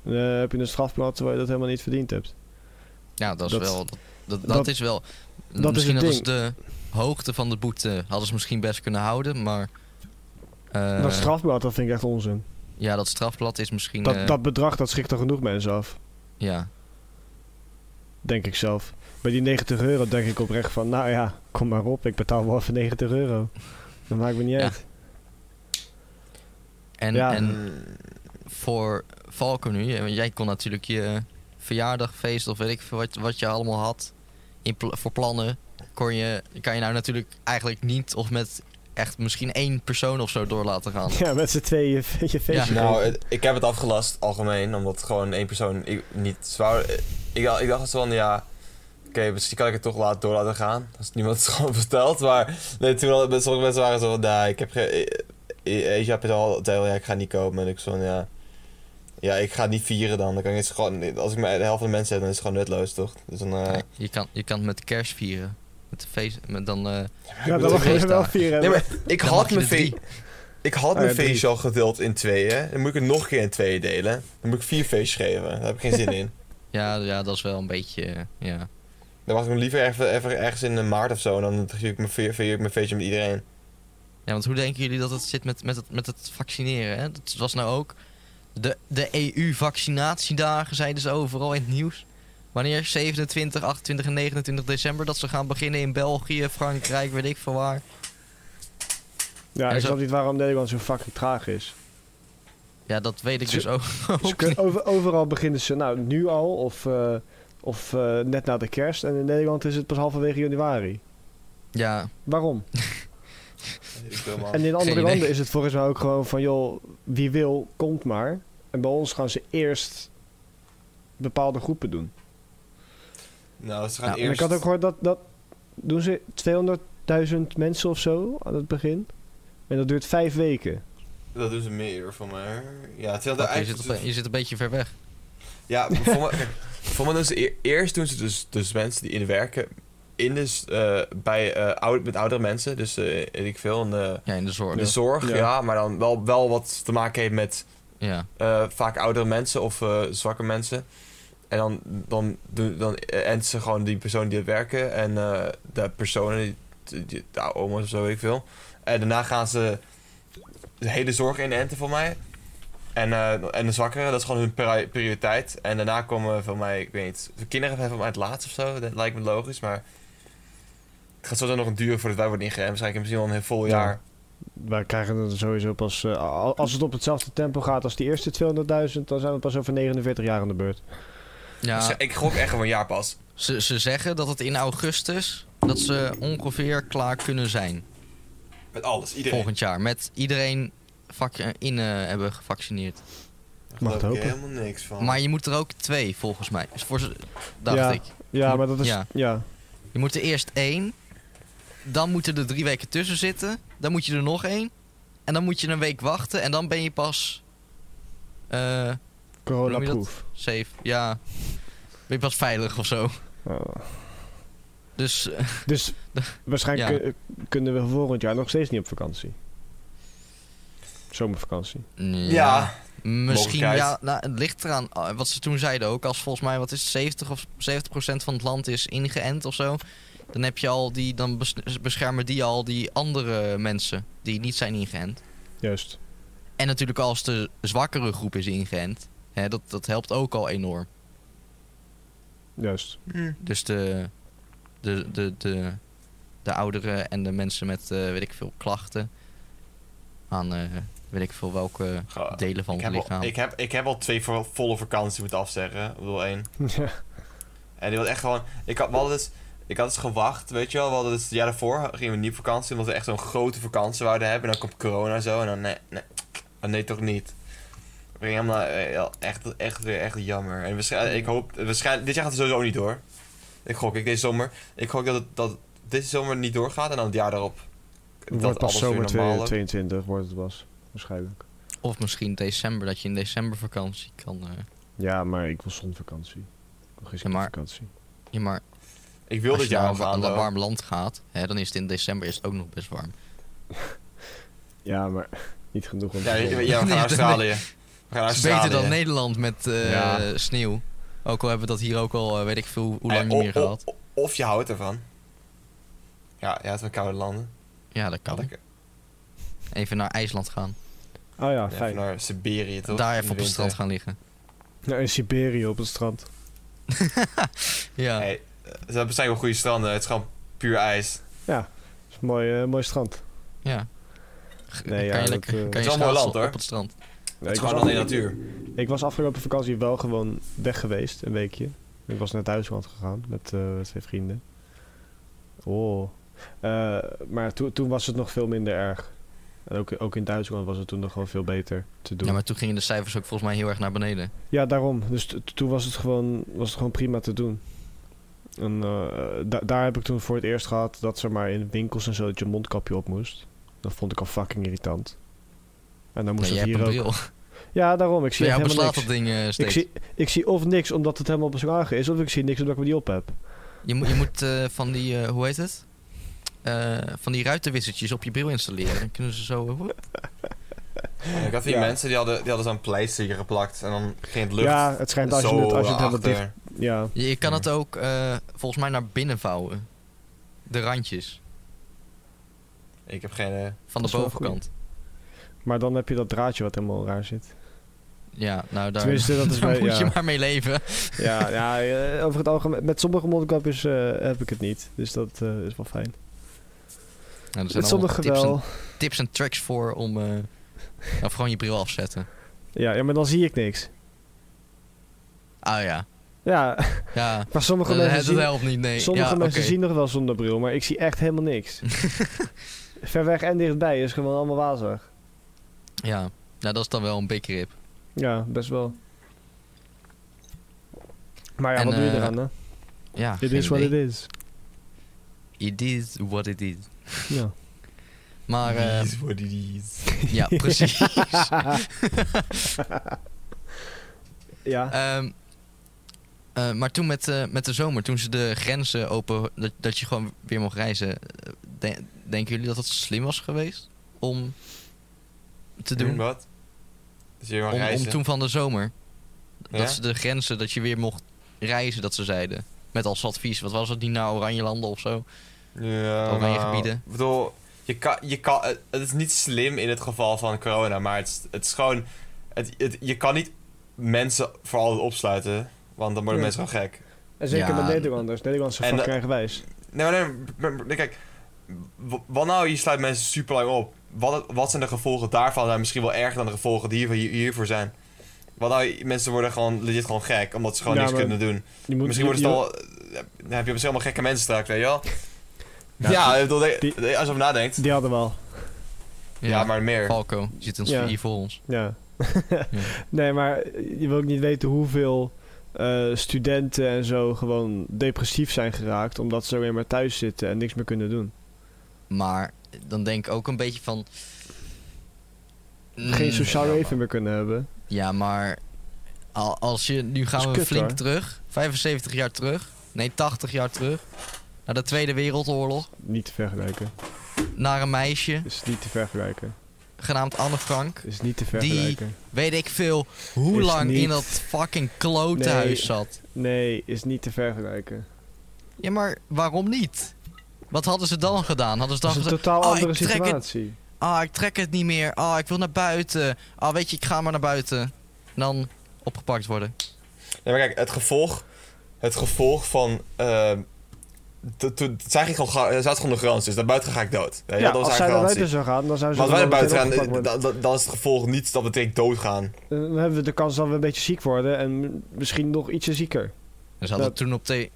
Eh, heb je een strafblad terwijl je dat helemaal niet verdiend hebt.
Ja, dat is
dat-
wel... Dat, dat,
dat-
is wel...
dat is
misschien
het
eh, hadden ze de hoogte van de boete... hadden ze misschien best kunnen houden, maar... Eh,
dat strafblad, dat vind ik echt onzin.
Ja, dat strafblad is misschien... eh,
Dat, dat bedrag, dat schrikt er genoeg mensen af.
Ja,
Denk ik zelf. Bij die 90 euro denk ik oprecht van, nou ja, kom maar op. Ik betaal wel even 90 euro. Dat maakt me niet
Ja.
uit.
en,
Ja.
en voor Valken nu. hè, Want jij kon natuurlijk je verjaardagfeest of weet ik veel wat, wat je allemaal had. In pl- voor plannen kon je, kan je nou natuurlijk eigenlijk niet of met echt misschien één persoon of zo door laten gaan.
[LAUGHS] Ja, met z'n tweeën je, je feestje.
Ja.
[LAUGHS] Nou,
geven.
het- ik heb het afgelast algemeen, omdat gewoon één persoon ik, niet zwaar. Ik, dacht- ik dacht van ja, oké, misschien kan ik het toch laten door laten gaan. Als niemand het [LAUGHS] gewoon vertelt. Maar nee, toen al, met sommige mensen waren zo van, nou, ik heb geen. e- e- Eentje heb het al, zei al, ja, ik ga niet kopen. En ik zo van ja. Ja, ik ga het niet vieren dan. dan kan ik het gewoon, als ik maar de helft van de mensen heb, dan is het gewoon nutloos, toch? Dus dan. eh,
Ja, je, kan, je kan het met kerst vieren. Met de feest, met dan, eh,
ja,
bedoel,
dat mag je
feestdagen.
wel vieren.
Nee, maar ik
dan
had
mag je
mijn
er drie. Ah,
feest. Ik had
Oh ja,
mijn
drie.
feestje al gedeeld in tweeën. Dan moet ik het nog een keer in tweeën delen. Dan moet ik vier feestjes geven. Daar heb ik geen zin in.
Ja, ja, dat is wel een beetje. eh, ja.
Dan wacht ik me liever even, even ergens in eh, maart of zo. En dan vier ik mijn, vier, vier ik mijn feestje met iedereen.
ja, want hoe denken jullie dat het zit met, met, het, met het vaccineren? Hè? Dat was nou ook. De, de EU-vaccinatiedagen zeiden ze overal in het nieuws. Wanneer 27, 28 en 29 december dat ze gaan beginnen in België, Frankrijk, weet ik veel waar.
Ja,
En
ik
zo-
snap niet waarom Nederland zo fucking traag is.
Ja, dat weet ik
Ze-
dus ook,
Ze
ook
kunnen
niet.
over, overal beginnen ze nou nu al of, eh, of eh, net na de kerst. En in Nederland is het pas halverwege januari.
Ja,
Waarom? En in
Geen
andere
idee.
landen is het volgens mij ook gewoon van, joh, wie wil, komt maar. En bij ons gaan ze eerst bepaalde groepen doen.
Nou, ze
gaan Ja,
En ik had ook gehoord dat, dat doen ze 200.000 mensen of zo aan het begin. En dat duurt vijf weken.
Dat doen ze meer van mij. Ja, het
Oké, je, zit op- je zit een beetje ver weg.
dus-
[LAUGHS]
Ja, maar voor mij, kijk, voor mij doen ze eer- eerst doen ze dus, dus mensen die in werken. In dus, eh, bij, eh, oud, met oudere mensen. Dus eh, weet ik veel. In de,
Ja, in de zorg.
de zorg,
Ja.
ja. Maar dan wel, wel wat te maken heeft met
Ja.
eh, vaak oudere mensen of eh, zwakke mensen. En dan, dan, doen- dan eh, ent ze gewoon die persoon die het werken en eh, de personen, die, die, de oma's of zo, weet ik veel. En daarna gaan ze de hele zorg in enten voor mij. En, eh, en de zwakkeren, dat is gewoon hun pri- prioriteit. En daarna komen van mij, ik weet niet, de kinderen hebben van mij het laatst of zo. Dat lijkt me logisch, maar het gaat sowieso nog een duur voordat wij worden ingeënt. Waarschijnlijk misschien wel een heel vol
Ja.
jaar.
Wij krijgen het sowieso pas, eh, al- als het op hetzelfde tempo gaat als die eerste 200.000, dan zijn we pas over 49 jaar aan de beurt.
ja.
Dus ik gok echt gewoon een jaar pas.
Ze, ze zeggen dat het in augustus. dat ze ongeveer klaar kunnen zijn.
Met alles,
Volgend jaar. Met iedereen vac- in eh, hebben gevaccineerd.
Mag het hopen.
helemaal niks van.
Maar je moet er ook twee, volgens mij. Dus voor, z- dacht
Ja.
ik.
Ja, maar dat is...
Ja.
ja.
Je moet er eerst één. Dan moeten er drie weken tussen zitten. Dan moet je er nog één. En dan moet je een week wachten. En dan ben je pas... eh
Corona-proof.
safe. Ja. Ben je pas veilig of zo.
Oh.
Dus eh,
Dus waarschijnlijk
Ja.
kun- kunnen we volgend jaar nog steeds niet op vakantie. Zomervakantie.
Ja,
Misschien,
Mogelijkheid.
ja, nou, het ligt eraan. eh, Wat ze toen zeiden ook, als volgens mij, wat is het, 70 of 70 van het land is ingeënt of zo. Dan heb je al die, dan bes- beschermen die al die andere mensen die niet zijn ingeënt.
Juist.
En natuurlijk als de zwakkere groep is ingeënt, hè, dat, dat helpt ook al enorm.
Juist.
Hm.
Dus de, de, de, de, de ouderen en de mensen met, eh, weet ik veel, klachten aan, eh, weet ik veel, welke
Ga-
delen van
ik,
het
heb
lichaam.
al, ik, heb, ik heb al twee vo- volle vakantie moeten afzeggen. Ik bedoel
[LAUGHS]
één.
Ja.
En die was echt gewoon. Ik had, we hadden dus, ik had dus gewacht, weet je wel. We hadden dus het jaar daarvoor gingen we niet op vakantie. Omdat we echt zo'n grote vakantie wouden hebben. En dan komt corona en zo. En dan nee, nee, Ah, nee toch niet. We gingen helemaal, eh, ja, echt, echt weer echt jammer. En waarschijnlijk, ik hoop, waarschijnlijk, dit jaar gaat het sowieso niet door. Ik gok, ik deze zomer. Ik gok dat het, dat het deze zomer niet doorgaat. En dan het jaar daarop.
Het wordt pas
alles weer
zomer
normaal loopt.
2022 wordt het pas. Waarschijnlijk.
Of misschien december, dat je in december vakantie kan. eh,
Ja, maar ik wil zonvakantie. Ik wil geen
Ja, maar-
vakantie.
Ja, maar
Ik wil
als
dit
je naar
jaar
een
al
wa-
gaan.
la-
hoor.
warm land gaat, hè, dan is het in december is het ook nog best warm.
Ja, maar [LAUGHS] niet genoeg om te
Ja, ja,
zonnen.
we gaan
Nee,
naar Australië. We gaan naar
Het is
Australië.
beter dan Nederland met eh,
Ja.
sneeuw. Ook al hebben we dat hier ook al, eh, weet ik veel, hoe- hoe lang
Eh,
niet
o-
meer
o-
gehad.
o- Of je houdt ervan. Ja, je houdt van koude landen.
Ja, dat kan.
Lekker.
En Even naar IJsland gaan.
Oh ja,
Even
fijn.
naar Siberië toch?
Daar
In
even
de
op het
winter.
strand gaan liggen.
Nou, in Siberië op het strand.
Ja.
Hey, eh, ze hebben zijn wel goede stranden. Het is gewoon puur ijs.
Dat is een mooi, eh, mooi strand.
ja. G-
Nee, ja,
kan je
dat,
lekker
eh,
kan
Het
is
je
wel een mooi
schaatsen
land, hoor.
op het strand.
Het is
ik was
gewoon alleen
af-
natuur.
Ik was afgelopen vakantie wel gewoon weg geweest, een weekje. Ik was naar Duitsland gegaan met eh, twee vrienden. Oh. Eh, maar toen toen was het nog veel minder erg. En ook, ook in Duitsland was het toen nog wel veel beter te doen.
Ja,
Ja,
maar toen gingen de cijfers ook volgens mij heel erg naar beneden.
daarom. Dus t- t- toen was het, gewoon, was het gewoon prima te doen. En eh, da- daar heb ik toen voor het eerst gehad dat ze maar in winkels en zo dat je mondkapje op moest. Dat vond ik al fucking irritant. En dan moest
Nee, jij
het
hebt
hier
een
ook.
bril.
Ja, daarom. Ik zie
Bij jou
echt helemaal
beslaat
niks.
dat ding eh,
Ik
steeds.
zie, ik zie of niks omdat het helemaal beslagen is, of ik zie niks omdat ik me die op heb.
Je, moet- je moet eh, van die, eh, hoe heet het? Eh, van die ruitenwissertjes op je bril installeren. Dan kunnen ze zo... eh, woep.
Ik had hier
Ja.
mensen die hadden, die hadden zo'n pleister geplakt en dan ging het lucht.
ja, het schijnt als je
zo
het, als je het helemaal
achter.
dicht. Ja,
je, je kan het ook eh, volgens mij naar binnen vouwen. De randjes.
Ik heb geen...
Van
eh,
de
Dat is wel een
bovenkant.
maar dan heb je dat draadje wat helemaal raar zit.
Ja, nou daar,
Tenminste, dat
[LAUGHS]
is
daar
bij-
moet je
ja.
maar mee leven. Nou,
Ja, ja eh, over het algemeen, met sommige mondkapjes eh, heb ik het niet. Dus dat eh, is wel fijn.
Nou, er zijn
Met
allemaal
sommige
tips en-
wel.
tips en tricks voor om. eh, of gewoon je bril afzetten.
Ja, ja, maar dan zie ik niks.
Ah ja.
Ja, [LAUGHS]
Ja.
maar sommige
Dat,
mensen,
[LAUGHS] dat
zien,
helpt niet, nee.
sommige
eh, ja,
mensen
oké.
zien nog wel zonder bril, maar ik zie echt helemaal
[LAUGHS]
niks. Ver weg en dichtbij is gewoon allemaal wazig.
Ja. Nou, dat is dan wel een big rip.
Ja, best wel. Maar ja,
En,
wat doe je
eh,
eraan, hè?
Ja.
It
geen
is what
idee.
it is.
It is what it is.
Ja.
Maar, eh,
these what it is.
[LAUGHS]
ja, precies.
ja.
Ehm, eh, maar toen met, eh, met de zomer, toen ze de grenzen open, dat, dat je gewoon weer mocht reizen. eh, de- denken jullie dat dat slim was geweest? Om te doen?
Wat? Dus je mag
Om, om
reizen.
toen van de zomer. Dat
Ja?
ze de grenzen, dat je weer mocht reizen, dat ze zeiden. Met als advies, wat was het, niet naar Oranje landen of zo?
Ja,
Oranje
nou,
gebieden.
Ik bedoel, je kan, je kan, het het is niet slim in het geval van corona, maar het is, het is gewoon... Het, het- je kan niet mensen voor altijd opsluiten, want dan
Ja.
worden mensen gewoon gek.
En zeker
Ja.
met Nederlanders. Nederlanders zijn
En,
fucking eigenwijs.
Nee, maar nee, maar- maar- kijk. w- Wat nou, je sluit mensen super lang op. Wat, wat zijn de gevolgen daarvan? Zijn misschien wel erger dan de gevolgen die hiervoor, hier- hiervoor zijn. Wat nou, mensen worden gewoon legit gewoon gek, omdat ze gewoon
Ja,
niks
maar-
kunnen doen.
Je moet,
misschien worden
je-
ze dan wel. Dan heb je misschien allemaal gekke mensen straks, weet je wel?
Ja,
Ja, ik bedoel, de-
die-
de- als je erover nadenkt.
Die hadden wel.
ja, maar meer.
Falco die zit ons
Ja.
hier voor ons.
[LAUGHS] Ja. Nee, maar je wil ook niet weten hoeveel eh, studenten en zo gewoon depressief zijn geraakt. Omdat ze alleen maar thuis zitten en niks meer kunnen doen.
Maar dan denk ik ook een beetje van... Mm,
Geen sociaal
ja,
leven
maar-
meer kunnen hebben.
Ja, maar al- als je... Nu gaan
is
we
kut,
flink
hoor.
terug. 75 jaar terug. Nee, 80 jaar terug. Naar de Tweede Wereldoorlog.
Niet te vergelijken.
Naar een meisje,
Is niet te vergelijken.
genaamd Anne Frank.
Is niet te vergelijken.
Weet ik veel hoe
Is
lang
niet-
in dat fucking klote
Nee.
huis zat.
Nee, is niet te vergelijken.
Ja, maar waarom niet? Wat hadden ze dan gedaan? Hadden ze
Dat
dan
is een
gezegd,
Oh,
totaal
"Ah,
andere
ik trek het."
situatie.
ah, ik trek het niet meer. Ah, ik wil naar buiten. Ah, weet je, ik ga maar naar buiten. En dan opgepakt worden.
Nee, maar kijk, het gevolg. Het gevolg van. eh, to- to- het zijn gewoon, gar- er zaten gewoon de garanties. Dus daar buiten ga ik dood. Ja,
Ja,
dat was
als zij naar
eigenlijk garantie.
buiten zou gaan, dan zou ze
Maar als wij naar
gewoon
buiten
meteen
gaan,
opgepakt worden.
dan, dan- dan is het gevolg niet dat we direct doodgaan.
Eh, Dan hebben we de kans dat we een beetje ziek worden en m- misschien nog ietsje zieker.
En ze hadden
Dat-
toen op de...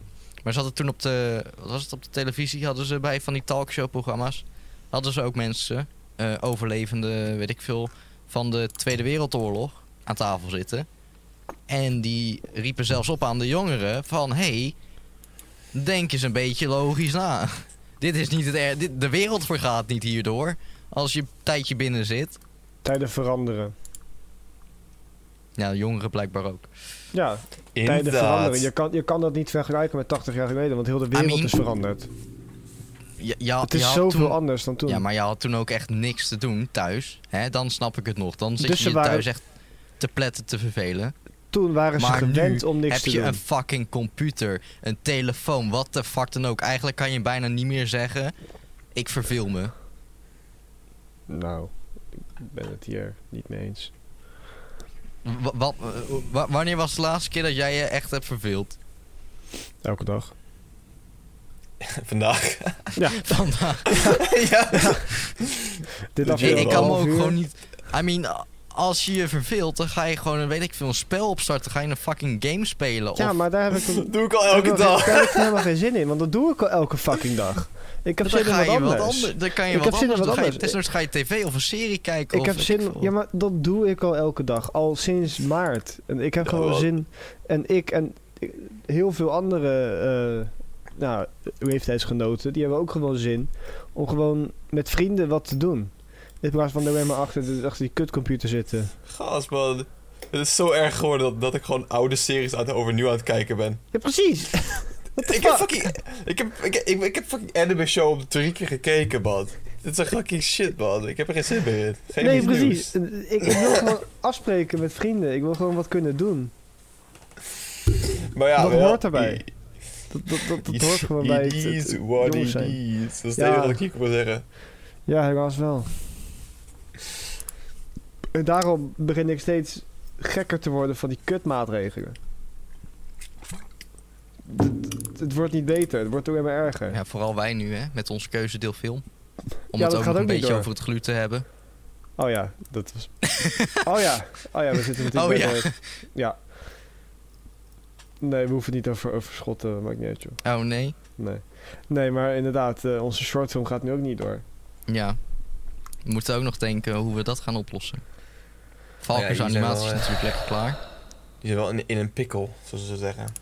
Maar ze hadden toen op de... Wat was het? Op de televisie hadden ze bij van die talkshow-programma's... Hadden ze ook mensen, eh, overlevenden, weet ik veel... van de Tweede Wereldoorlog aan tafel zitten. En die riepen zelfs op aan de jongeren van... Hey, denk eens een beetje logisch na. [LAUGHS] Dit is niet het er- dit, De wereld vergaat niet hierdoor. Als je een tijdje binnen zit.
Tijden veranderen.
Ja, jongeren blijkbaar ook.
Ja, tijden veranderen. Je kan, je kan dat niet vergelijken met 80 jaar geleden, want heel de wereld
mean,
is veranderd.
Ja, ja,
Het is
ja,
zoveel
toen-
anders dan toen.
Ja, maar je had toen ook echt niks te doen thuis. Hè? Dan snap ik het nog. Dan zit
Dus
je
ze
je
waren-
thuis echt te pletten te vervelen.
toen waren ze
maar
gewend
nu
om niks
Heb
te
je
doen.
een fucking computer, een telefoon, wat de fuck dan ook. Eigenlijk kan je bijna niet meer zeggen, ik verveel me.
Nou, ben het hier niet mee eens.
Wa- wa- wa- wanneer was de laatste keer dat jij je echt hebt verveeld? [LAUGHS]
Elke dag.
[LAUGHS] Vandaag. [LAUGHS]
Ja,
Vandaag.
ja.
dit
Ja,
Ik,
afgelopen
ik kan me
half
ook
uur.
gewoon niet. I mean, als je je verveelt, dan ga je gewoon een weet ik veel een spel opstarten. Dan ga je een fucking game spelen.
Ja,
of...
maar daar heb
[LAUGHS]
ik
Dat doe ik al elke
Daar heb ik-
dag.
Daar heb ik helemaal geen zin in, want dat doe ik al elke fucking dag. Ik heb
Dus dan
zin
ga
in wat
je
anders.
wat ander- Dan kan je
Ik
wat
heb zin in
anders.
wat
Dan ga je,
anders.
desnoods ga je tv of een serie kijken.
Ik
of
heb
weet
zin.
veel.
Ja, maar dat doe ik al elke dag. Al sinds maart. En ik heb
Ja,
gewoon
wel.
zin. En ik en eh, heel veel andere eh, nou, leeftijdsgenoten, die hebben ook gewoon zin om gewoon met vrienden wat te doen. In plaats van alleen maar achter, de- achter die kutcomputer zitten.
Gas, man. Het is zo erg geworden dat, dat ik gewoon oude series aan, overnieuw aan het kijken ben.
Ja, [LAUGHS] precies.
Ik heb fucking... Ik heb, ik, ik, ik heb fucking anime show op drie keer gekeken, man. Dit is echt fucking shit, man. Ik heb er geen zin meer in. Geen
nee, precies. Ik, ik wil gewoon [LAUGHS] afspreken met vrienden. Ik wil gewoon wat kunnen doen.
Maar ja,
Dat
wel-
hoort erbij. Dat, dat, dat, dat hoort gewoon bij het,
It
het-
is
het
what
eh, jong
it
zijn.
is. Dat is
Ja.
het enige wat ik hier kon zeggen.
Ja, helaas wel. En daarom begin ik steeds gekker te worden van die kutmaatregelen. Het- Het, het wordt niet beter, het wordt alleen maar erger.
Ja, vooral wij nu, hè, met ons keuzedeel film. Om
Ja, dat
het ook nog
gaat
een
ook niet
beetje
door.
over het gluten te hebben.
Oh ja, dat was... oh ja, oh ja, we zitten natuurlijk
Oh
bij
ja.
de- Ja. Nee, we hoeven het niet over, over schotten, maakt niet uit joh.
Oh nee.
Nee. nee, maar inderdaad, eh, onze shortfilm gaat nu ook niet door.
Ja. We moeten ook nog denken hoe we dat gaan oplossen.
Ja,
Valkers
hier zijn
animatie is
wel, eh,
natuurlijk lekker
[LAUGHS]
klaar.
Je zit wel in, in een pikkel, zoals ze zeggen.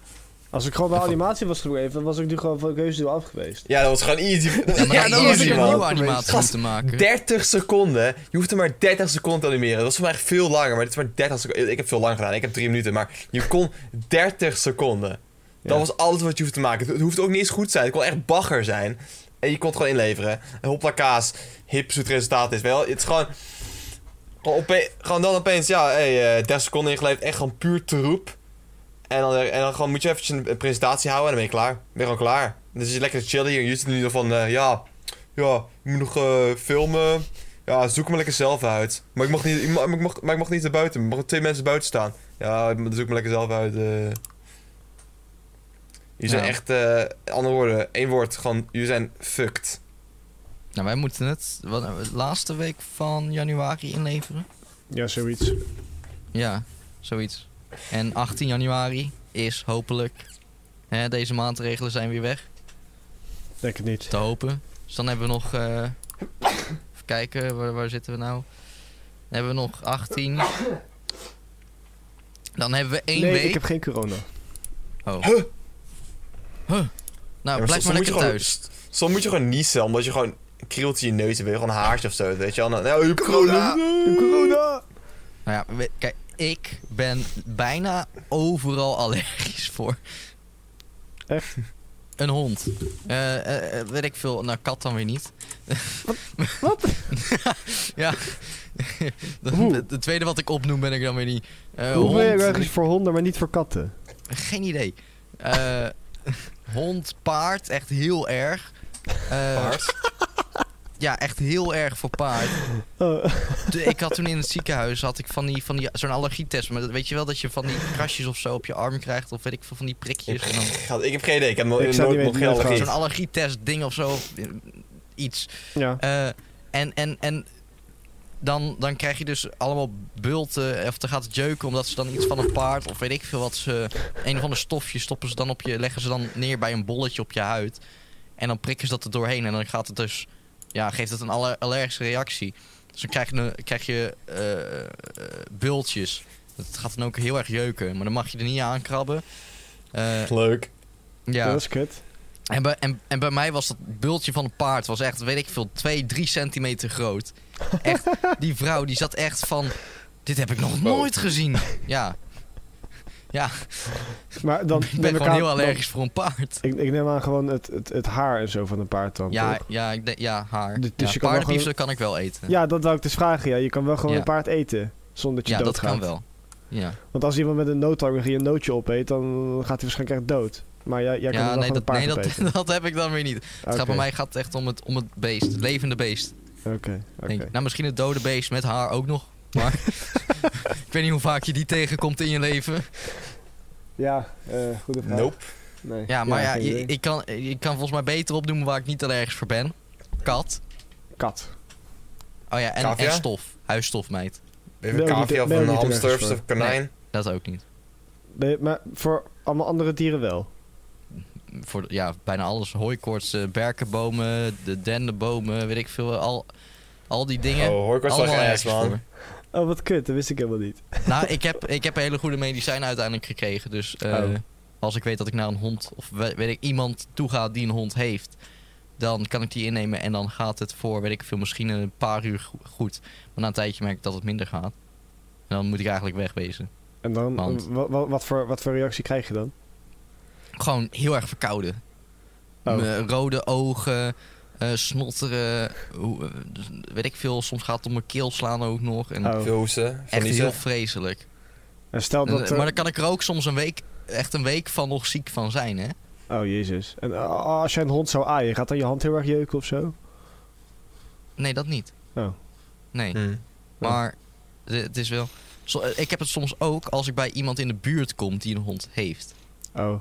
Als ik gewoon bij
Ja, van-
animatie was gebleven, dan was ik nu gewoon van keuze af geweest.
Ja, dat was gewoon easy.
Ja,
Dat was
maar
echt
dan was
easy,
ik een
man.
nieuwe animatie
Gast,
moeten maken.
30 seconden. Je hoeft er maar 30 seconden te animeren. Dat was voor mij echt veel langer, maar dit is maar 30 seconden. Ik heb veel lang gedaan, ik heb 3 minuten, maar je kon 30 seconden. Dat
Ja.
was alles wat je hoeft te maken. Het, het hoeft ook niet eens goed te zijn. Het kon echt bagger zijn. En je kon het gewoon inleveren. En hopla kaas, hip, zoet resultaat is. Wel, het is gewoon... Gewoon, ope- gewoon dan opeens, ja, hey, eh 30 seconden ingeleverd. Echt gewoon puur troep. En dan, en dan gewoon moet je eventjes een, een presentatie houden en dan ben je klaar. Ben je gewoon klaar. Dan zit je lekker te chillen hier. Je zit nu van, eh, ja, ja, je moet nog eh, filmen. Ja, zoek hem lekker zelf uit. Maar ik mag niet, ik mag, ik mag- maar ik mag niet naar buiten. Er mogen twee mensen buiten staan. Ja, zoek me lekker zelf uit. eh. Jullie zijn
Ja.
echt, eh andere woorden, één woord, gewoon, jullie zijn fucked.
Nou, wij moeten het wat, eh, laatste week van januari inleveren.
Ja, zoiets.
Ja, zoiets. En 18 januari is hopelijk... Hè, deze maatregelen zijn weer weg.
Denk het niet.
Te hopen. Dus dan hebben we nog... eh, even kijken, waar, waar zitten we nou? Dan hebben we nog 18... Dan hebben we één
nee,
week...
ik heb geen corona.
Oh.
Huh?
Huh. Nou,
Ja,
blijf
soms- soms
maar
moet
lekker
je gewoon-
thuis.
s- Soms moet je gewoon niezen, omdat je gewoon krielt in je neus en weer gewoon een haartje of zo, weet je wel. Nou, nou, je hebt corona.
corona!
Nou ja, we- kijk, ik ben bijna overal allergisch voor.
Echt?
Een hond. Eh, eh, eh, weet ik veel. Nou, kat dan weer niet.
Wat?
Ja. [LAUGHS]
Hoe?
De, de tweede wat ik opnoem ben ik dan weer niet. Eh,
Hoe ben je
hond.
ergens voor honden, maar niet voor katten?
Geen idee. Eh, [LAUGHS] hond, paard, echt heel erg. Eh,
Paard.
Ja, echt heel erg voor paard.
Oh,
De- ik had toen in het ziekenhuis had ik van die, van die zo'n allergietest. Maar dat- weet je wel dat je van die krasjes of zo op je arm krijgt? Of weet ik veel van die prikjes. En dan
Gast, Ik heb geen idee, ik heb nog,
Ik
nooit
zou niet
nog
weten
geen
hoe het
allergie.
zo'n allergietest ding of zo. of, eh, Iets.
ja.
Eh, en en, en dan, dan krijg je dus allemaal bulten. eh, Of dan gaat het jeuken omdat ze dan iets van een paard. Of weet ik veel wat ze. Een of ander stofje stoppen ze dan op je. Leggen ze dan neer bij een bolletje op je huid. En dan prikken ze dat er doorheen. En dan gaat het dus. Ja, geeft het een aller- allergische reactie. Dus dan krijg je, een- krijg je eh, eh, bultjes. Dat gaat dan ook heel erg jeuken. Maar dan mag je er niet aan krabben. Eh,
Leuk.
ja.
Dat is kut.
En bij, en, en bij mij was dat bultje van een paard was echt, weet ik veel, 2, 3 centimeter groot.
[LAUGHS]
Echt, die vrouw die zat echt van, dit heb ik
Oh.
nog
Wow.
nooit gezien.
[LAUGHS]
Ja,
Maar dan
ik
neem
ben gewoon
aan-
heel
dan-
allergisch voor een paard.
ik, ik neem aan gewoon het, het, het haar en zo van een paard dan.
Ja,
toch?
ja, ik denk- ja haar.
Dus je eh, kan
ja,
wel
paardenbiefstuk kan ik wel eten.
ja, dat wou ik dus vragen. Ja. Je kan wel gewoon
Ja.
een paard eten zonder dat je
Ja, dat
doodgaat.
kan wel. Ja,
Want als iemand met een noodallergie een nootje opeet, dan gaat hij waarschijnlijk echt dood. Maar jij, jij kan
ja
wel
nee,
gewoon
dat,
een paard
nee [LAUGHS] dat,
opeten.
dat heb ik dan weer niet. Het gaat bij mij gaat het echt om het, om het beest, het levende beest.
Oké,
Denk
oké.
ik, nou, misschien het dode beest met haar ook nog.
[LAUGHS]
Maar [LAUGHS] ik weet niet hoe vaak je die tegenkomt in je leven.
Ja, eh goede vraag.
Nope.
Nee.
Ja, maar ja,
geen
je,
idee.
ik, kan, ik kan volgens mij beter opdoemen waar ik niet allergisch voor ben. Kat.
Kat.
Oh ja, en,
Cavia?
en stof. Huisstof, meid.
Even
Ben
een
ook niet-
cavia of
ben ook
een
niet
hamster of
ergens voor.
een konijn.
Dat ook niet.
Nee, maar voor allemaal andere dieren wel.
Voor, ja, bijna alles. Hooikoorts, eh, berkenbomen, de dendenbomen, weet ik veel. Al, al die dingen.
Oh, hoor ik wel
allemaal
slag
ergens
ass, man.
voor.
Oh, wat kut. Dat wist ik helemaal niet.
Nou, ik heb, ik heb een hele goede medicijn uiteindelijk gekregen. Dus eh,
Oh.
als ik weet dat ik naar een hond of we- weet ik, iemand toe ga die een hond heeft, dan kan ik die innemen en dan gaat het voor, weet ik veel, misschien een paar uur go- goed. Maar na een tijdje merk ik dat het minder gaat. En dan moet ik eigenlijk wegwezen.
En dan,
Want-
wa- wa- wat, voor, wat voor reactie krijg je dan?
Gewoon heel erg verkouden.
Oh,
Mijn rode ogen, eh, snotteren, hoe- eh, dus weet ik veel. Soms gaat het om mijn keel slaan ook nog. En
oh.
Veel hoesten,
echt
verliezen.
heel vreselijk.
En stel Oh, dat...
Eh,
eh,
maar
er-
dan kan ik er ook soms een week, echt een week van nog ziek van zijn, hè?
Oh, jezus. En eh, als jij een hond zou aaien, gaat dan je hand heel erg jeuken of zo?
Nee, dat niet.
Oh.
Nee,
Hm.
maar de- het is wel... Zo- eh, ik heb het soms ook als ik bij iemand in de buurt kom die een hond heeft.
Oh,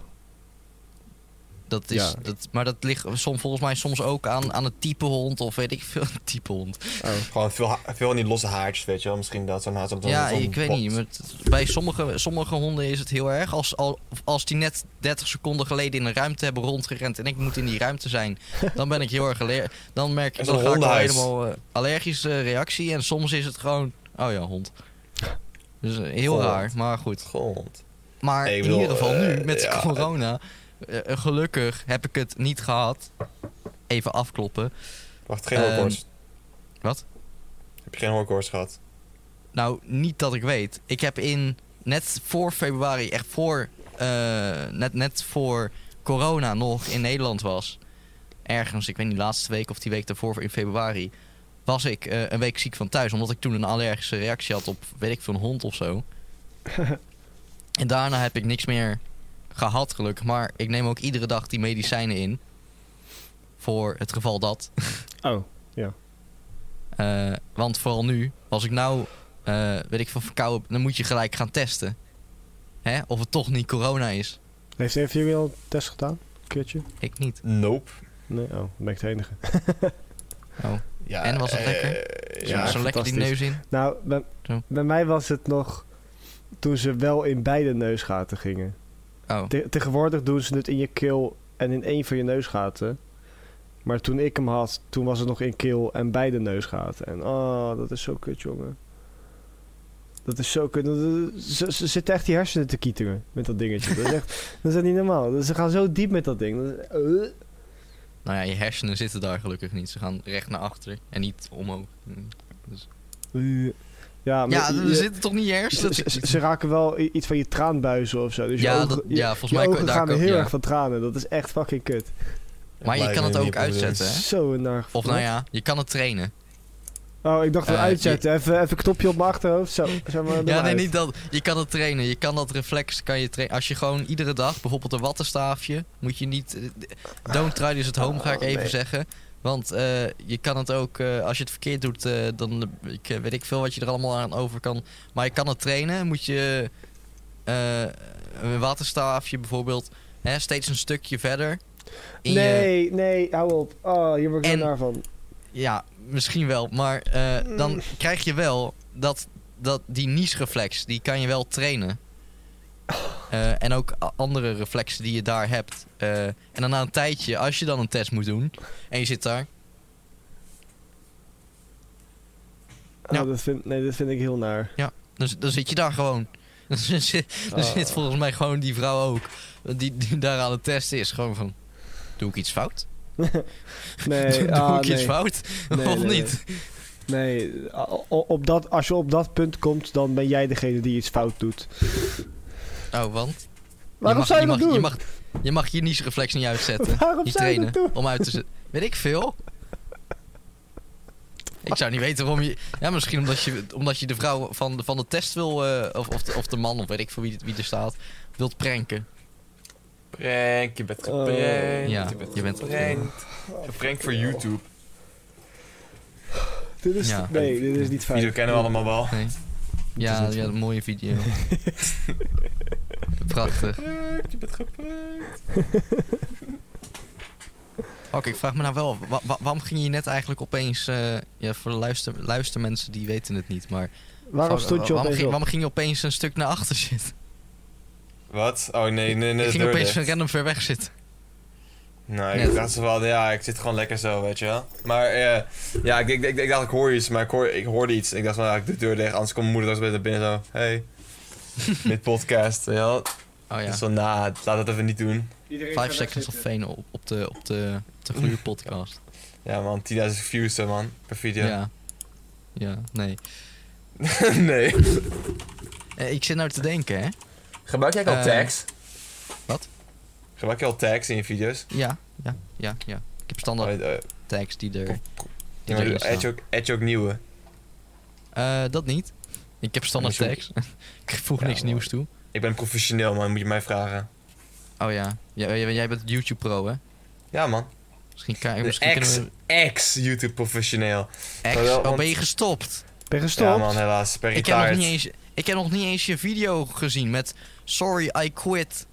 Dat is,
Ja.
dat, maar dat ligt soms, volgens mij soms ook aan, aan het type hond of weet ik veel. [LAUGHS] Type hond. [LAUGHS]
oh.
Gewoon veel, ha- veel van die losse haartjes, weet je wel. Misschien dat zo'n haart op
Ja, ik weet niet. Maar het- bij sommige, sommige honden is het heel erg. Als, al- als die net 30 seconden geleden in een ruimte hebben rondgerend en ik moet in die ruimte
[LAUGHS]
zijn, dan ben ik heel erg aller- Dan merk
En
ik
zo'n
dan ga ik wel
hondenhuis.
helemaal eh, allergische reactie. En soms is het gewoon, oh ja, hond. Dus eh, heel
Goh.
raar, maar goed.
Grond.
Maar
Ik
in
bedoel,
ieder geval nu,
eh,
met
ja.
corona, eh, eh, gelukkig heb ik het niet gehad. Even afkloppen.
Wacht, geen
Ehm,
hoorkoorts.
wat?
Heb je geen hoorkoorts gehad?
Nou, niet dat ik weet. Ik heb in net voor februari, echt voor, eh, net, net voor corona nog in Nederland was. Ergens, ik weet niet, laatste week of die week daarvoor in februari. Was ik eh, een week ziek van thuis, omdat ik toen een allergische reactie had op, weet ik veel, een hond of zo. en daarna heb ik niks meer gehad, gelukkig. Maar ik neem ook iedere dag die medicijnen in. Voor het geval dat.
Oh,
Eh, want vooral nu, als ik nou, eh, weet ik van verkouden, dan moet je gelijk gaan testen. Hè? Of het toch niet corona is.
heeft een van jullie al een test gedaan? Een keertje?
Ik niet.
Nope.
Nee, oh, dan ben ik de enige.
Oh.
Ja,
En, was het
eh,
lekker?
Ja,
Ja, zo lekker die neus
fantastisch.
in.
Nou, bij,
Zo.
bij mij was het nog toen ze wel in beide neusgaten gingen.
Oh,
Te- tegenwoordig doen ze het in je keel en in één van je neusgaten. Maar toen ik hem had, toen was het nog in keel en beide neusgaten. En oh, dat is zo kut, jongen. Dat is zo kut. Dat- dat- Ze, ze zitten echt die hersenen te kieteren met dat dingetje. Dat is
[LAUGHS]
echt dat is niet normaal. Dat- Ze gaan zo diep met dat ding. Dat is- eh.
nou ja, je hersenen zitten daar gelukkig niet. Ze gaan recht naar achter en niet omhoog. Hm.
Eh. Ja, maar
Ja,
je-
er
je-
zitten toch niet je hersenen?
ze, ze- ze raken wel i- iets van je traanbuizen of zo. Dus je
Ja,
ogen-
dat,
je-
ja, volgens
je
mij
ogen
daar
gaan
kan-
heel
ja.
erg van tranen. Dat is echt fucking kut.
Maar je
Lijkt
kan
me
het
niet
ook
op bedoeling.
uitzetten, hè?
Zo naar.
Of nou ja, je kan het trainen.
Oh, ik dacht wel
Eh,
uitzetten. Even, even een knopje op mijn achterhoofd. Zo, zeg maar.
Ja, nee,
eruit.
niet dat. Je kan het trainen. Je kan dat reflex kan je trainen. Als je gewoon iedere dag, bijvoorbeeld een wattenstaafje, moet je niet. eh, d- Don't try this at home, ga ik
Oh,
even
nee.
zeggen. Want eh, je kan het ook, eh, als je het verkeerd doet, eh, dan eh, ik, eh, weet ik veel wat je er allemaal aan over kan. Maar je kan het trainen. Moet je eh, een wattenstaafje bijvoorbeeld hè, steeds een stukje verder. In je,
nee, nee, hou op. Oh, hier word ik
En-
zo naar van.
ja, misschien wel. Maar eh, dan
Mm.
krijg je wel dat, dat die niesreflex, die kan je wel trainen.
Oh.
Eh, en ook a- andere reflexen die je daar hebt. Eh, en dan na een tijdje, als je dan een test moet doen en je zit daar.
Oh,
Ja.
dat vind, nee, dat vind ik heel
[LAUGHS]
naar.
Dan, z- dan zit je daar gewoon. [LAUGHS] Dan zit, dan
Oh.
zit volgens mij gewoon die vrouw ook. Die, die daar aan het testen is. Gewoon van, doe ik iets fout? [LAUGHS]
Nee,
doe
ah,
ik iets
nee.
fout?
Nee,
[LAUGHS] of
nee, nee.
niet?
nee. Ah, o- Op dat, als je op dat punt komt, dan ben jij degene die iets fout doet.
Oh, want?
Waarom
je mag,
zou je,
je, mag,
dat doen?
je, mag, je mag je niesreflex niet
[LAUGHS]
uitzetten.
Waarom
Niet
zou je dat doen?
trainen om uit te zetten. Weet ik veel. Ik zou niet weten waarom je. Ja, misschien omdat je, omdat je de vrouw van, van de test wil. eh, of, of, de, of de man, of weet ik veel wie, wie er staat. wilt pranken.
Prank, je bent
Oh.
geprankt.
Ja,
je bent
je bent
geprankt. Geprankt voor YouTube.
Dit is,
Ja.
Nee, dit is niet fijn.
Video kennen we allemaal wel.
Nee.
is
Ja,
niet
ja,
goed.
een mooie video.
[LAUGHS]
Prachtig.
Je bent geprankt.
Oké, ik vraag me nou wel, af, wa- wa- waarom ging je net eigenlijk opeens... eh, ja, voor de luister, luistermensen, die weten het niet, maar...
Waarom
Wa-
stond je
waarom,
opeens
ging,
op?
waarom ging je opeens een stuk naar achter zitten?
Wat? Oh nee, nee, nee.
ik
dat
ging
durfde.
opeens random ver weg zitten.
Nou, ik
Net.
dacht zo van, ja, ik zit gewoon lekker zo, weet je wel. Maar eh, ja, ik, ik, ik, ik dacht, ik hoor iets, maar ik, hoor, ik hoorde iets. Ik dacht van, ja, ik doe de deur dicht, anders komt mijn moeder straks naar binnen zo.
[LAUGHS]
Hey, dit podcast, weet je wel.
Oh ja,
Dus van, nou, laat dat even niet doen.
Five Seconds of Fame op, op de, op de, op de
[LAUGHS]
gluurpodcast.
Ja man, 10.000 views hè, man, per video.
Ja. ja. nee.
[LAUGHS] nee.
Eh, ik zit nou te denken, hè.
Gebruik jij
ook Eh, tags? wat?
Gebruik je al tags in je video's?
Ja, ja, ja, ja. Ik heb
Oh,
standaard
eh,
tags die er...
ja,
Die
maar
erin
doe- add je
staan.
ook, add je ook nieuwe.
Eh, dat niet. Ik heb standaard
Dan moet je
tags. [LAUGHS] ik voeg
Ja,
niks
maar-
nieuws toe.
Ik ben professioneel man, moet je mij vragen.
Oh ja. ja jij, jij bent YouTube pro, hè?
Ja man,
Misschien, kan,
de
misschien kunnen
ex,
we...
ex YouTube professioneel.
Ex,
Jawel,
oh,
want-
ben je gestopt?
Ben je
Ja
gestopt?
man, helaas, per
Ik heb, nog
retired.
niet eens, ik heb nog niet eens je video gezien met... Sorry, I quit.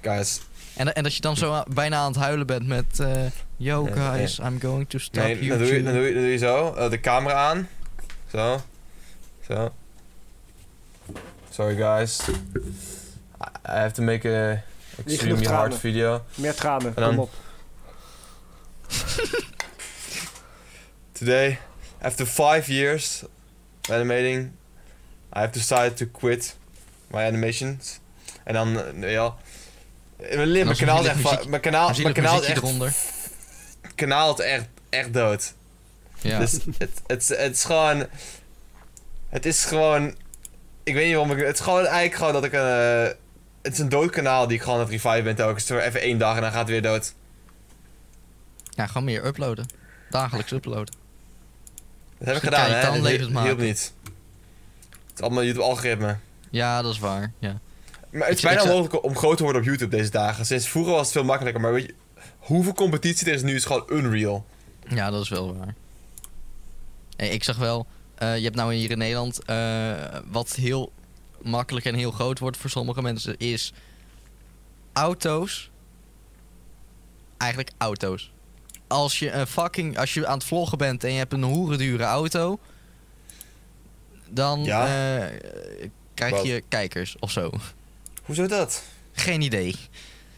Guys,
En, en dat je dan zo aan- bijna aan het huilen bent met... eh, Yo
Nee, nee.
guys, I'm going to stop
nee, dan doe,
YouTube.
je, dan, doe je, dan doe je zo, eh, de camera aan. Zo. Zo. Sorry guys. I I have to make a eh, extremely
tranen.
hard video.
Meer tranen,
En dan-
kom op.
[LAUGHS] Today, after five years of animating, I have decided to quit my animations. En dan, eh, nee, ja. Eh, Mijn, lip,
Dan
mijn
zie
kanaal is
je
echt,
muziek-
va- mijn kanaal,
dan zie je
mijn kanaal is
muziekje
echt,
eronder.
kanaal is echt, echt dood.
Ja.
Dus het, het, is- het is gewoon, het is gewoon, ik weet niet waarom ik, het is gewoon eigenlijk gewoon dat ik een, eh, het is een dood kanaal die ik gewoon aan het revive ben telkens. Door Even één dag en dan gaat het weer dood.
ja, gewoon meer uploaden. Dagelijks uploaden.
Dat heb ik
Misschien
gedaan,
kan je
hè. Dat
tandlevend
hielp
maken.
niet. Het is allemaal YouTube-algoritme.
Ja, dat is waar. Ja.
Maar het is
Ik- ik
bijna
zou-
onmogelijk om groot te worden op YouTube deze dagen. Sinds vroeger was het veel makkelijker, maar weet je, hoeveel competitie er is nu is gewoon unreal.
ja, dat is wel waar. Hey, ik zag wel... eh, je hebt nou hier in Nederland... eh, wat heel makkelijk en heel groot wordt voor sommige mensen... is auto's. Eigenlijk auto's. Als je een fucking... Als je aan het vloggen bent en je hebt een hoerendure auto... Dan
Ja.
eh, krijg
Wat?
je kijkers of zo.
Hoezo dat?
Geen idee.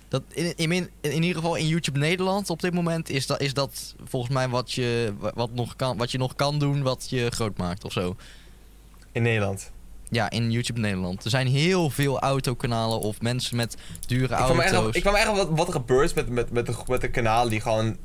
Dat in, in, in, in ieder geval in YouTube Nederland op dit moment is dat, is dat volgens mij wat je, wa- wat, nog kan, wat je nog kan doen wat je groot maakt of zo.
In Nederland.
Ja, in YouTube Nederland. Er zijn heel veel autokanalen of mensen met dure
Ik kwam me echt af-
auto's.
ik kwam me echt af wat, wat er gebeurt met, met, met, de, met de kanalen die gewoon,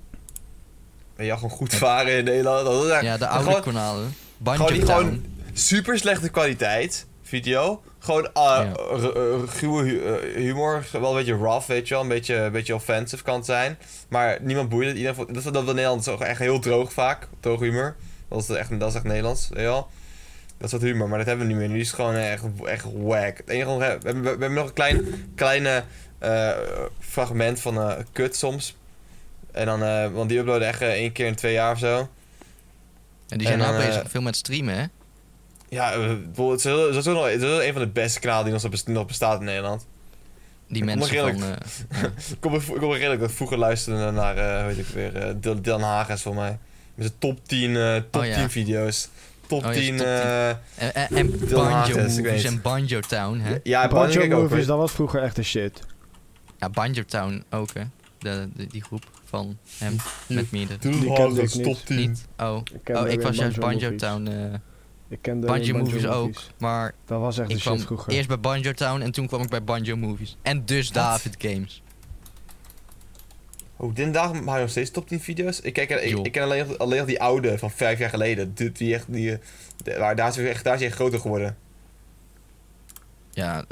ja, gewoon goed varen in Nederland. Dat is echt-
ja, de
maar
oude
gewoon
kanalen.
gewoon
Bandje
die gewoon-
Town.
super slechte kwaliteit video. Gewoon eh,
Ja.
r- r- ruwe hu- eh, humor, wel een beetje rough, weet je wel. Een beetje, een beetje offensive kan het zijn. Maar niemand boeit het. Iedereen, vond- dat, dat, dat Nederlands ook echt heel droog vaak. Droog humor. Dat is echt, dat is echt Nederlands, weet je wel. Dat is wat humor, maar dat hebben we niet meer. Nu is het gewoon echt, echt whack. Het enige, wat we, hebben, we hebben- we hebben nog een klein kleine eh, fragment van eh kut soms. En dan, eh, want die uploaden echt eh, één keer in twee jaar of zo.
En die zijn
en
nou
dan,
bezig
eh,
veel met streamen, hè?
Ja, eh, ik bedoel, het is wel- het is wel nog- het is wel een van de beste kanalen die nog, zo best- nog bestaat in Nederland.
Die
ik
mensen van...
vond
eh,
Ik kom, me vo- ik kom me redelijk dat ik vroeger luisterde naar, eh weet ik weer, eh Dylan- Dylan Hagens voor mij. Met zijn top 10, eh, top
Oh, ja.
10 video's. Top
Oh, ja,
10,
top 10.
eh,
en, en, en
Dylan Hagens,
Banjo
ik
Movies
weet het.
en Banjo Town, hè?
ja, Banjo
Banjo
ik ook.
Movies,
hoor.
dat was vroeger echt een shit.
Ja, Banjo Town ook, hè? De, de- die groep van hem met meerdere.
Die
Dylan
kende ik
Hagens,
niet.
top 10.
Niet? Oh,
Ik kende
Oh, ik
alleen
was juist Banjo
Movies.
Town. eh,
Ik kende
Banjo
alleen
Movies ook.
Movies.
maar
Dat was echt
ik
een shit
kwam
vroeger.
eerst bij Banjo Town en toen kwam ik bij Banjo Movies. En dus David Games.
Oh, dit dag maak je nog steeds top 10 video's? Ik, kijk, ik,
Joh.
ik ken alleen nog, alleen nog die oude van vijf jaar geleden. Die, die echt, die, eh, de- waar, daar, is hij echt, daar is hij echt groter geworden.
Ja,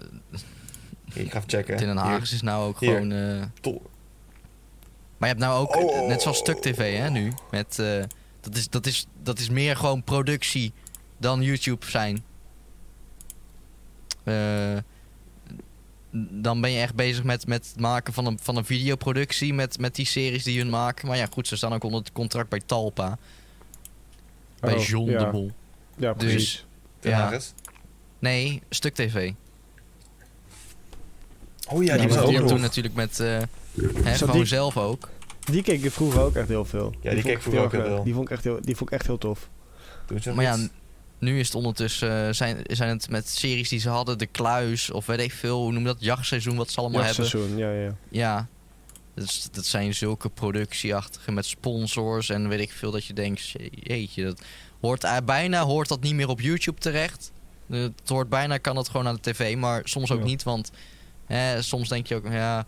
Hier, Ik ga even checken.
Den
Hier.
Haag is nou ook
Hier.
gewoon... eh,
Top.
maar je hebt nou ook,
Oh.
net zoals Stuk TV hè, nu. Met, eh, dat, is, dat, is, dat is meer gewoon productie dan YouTube zijn. Eh, dan ben je echt bezig met, met het maken van een, van een videoproductie. Met, met die series die hun maken. Maar ja, goed, ze staan ook onder het contract bij Talpa. bij
Oh,
John
ja.
de Mol.
Ja,
Dus-
precies.
Den
Ja.
Haag is.
Nee, Stuk TV.
Oh ja,
Ja,
die
die was
maar
was
ook
toen
nog.
natuurlijk met... eh hè,
Zat
gewoon
die-
zelf ook.
Die keek ik vroeger ook echt heel veel.
die keek
vond ik
vroeger
heel
ook heel
erg-
veel.
Die vond ik echt heel, die vond ik echt heel tof.
Doet ze
Maar ja,
goed.
n- nu is het ondertussen... eh, zijn, zijn het met series die ze hadden, De Kluis of weet ik veel, hoe noem je dat? Jachtseizoen, wat ze allemaal
Ja,
hebben.
seizoen, ja, ja.
Ja. Dus dat zijn zulke productieachtige met sponsors en weet ik veel dat je denkt, je- jeetje, dat hoort eh, bijna hoort dat niet meer op YouTube terecht. Eh, Het hoort bijna kan dat gewoon aan de tv, maar soms ook
Ja.
niet, want eh, soms denk je ook, ja,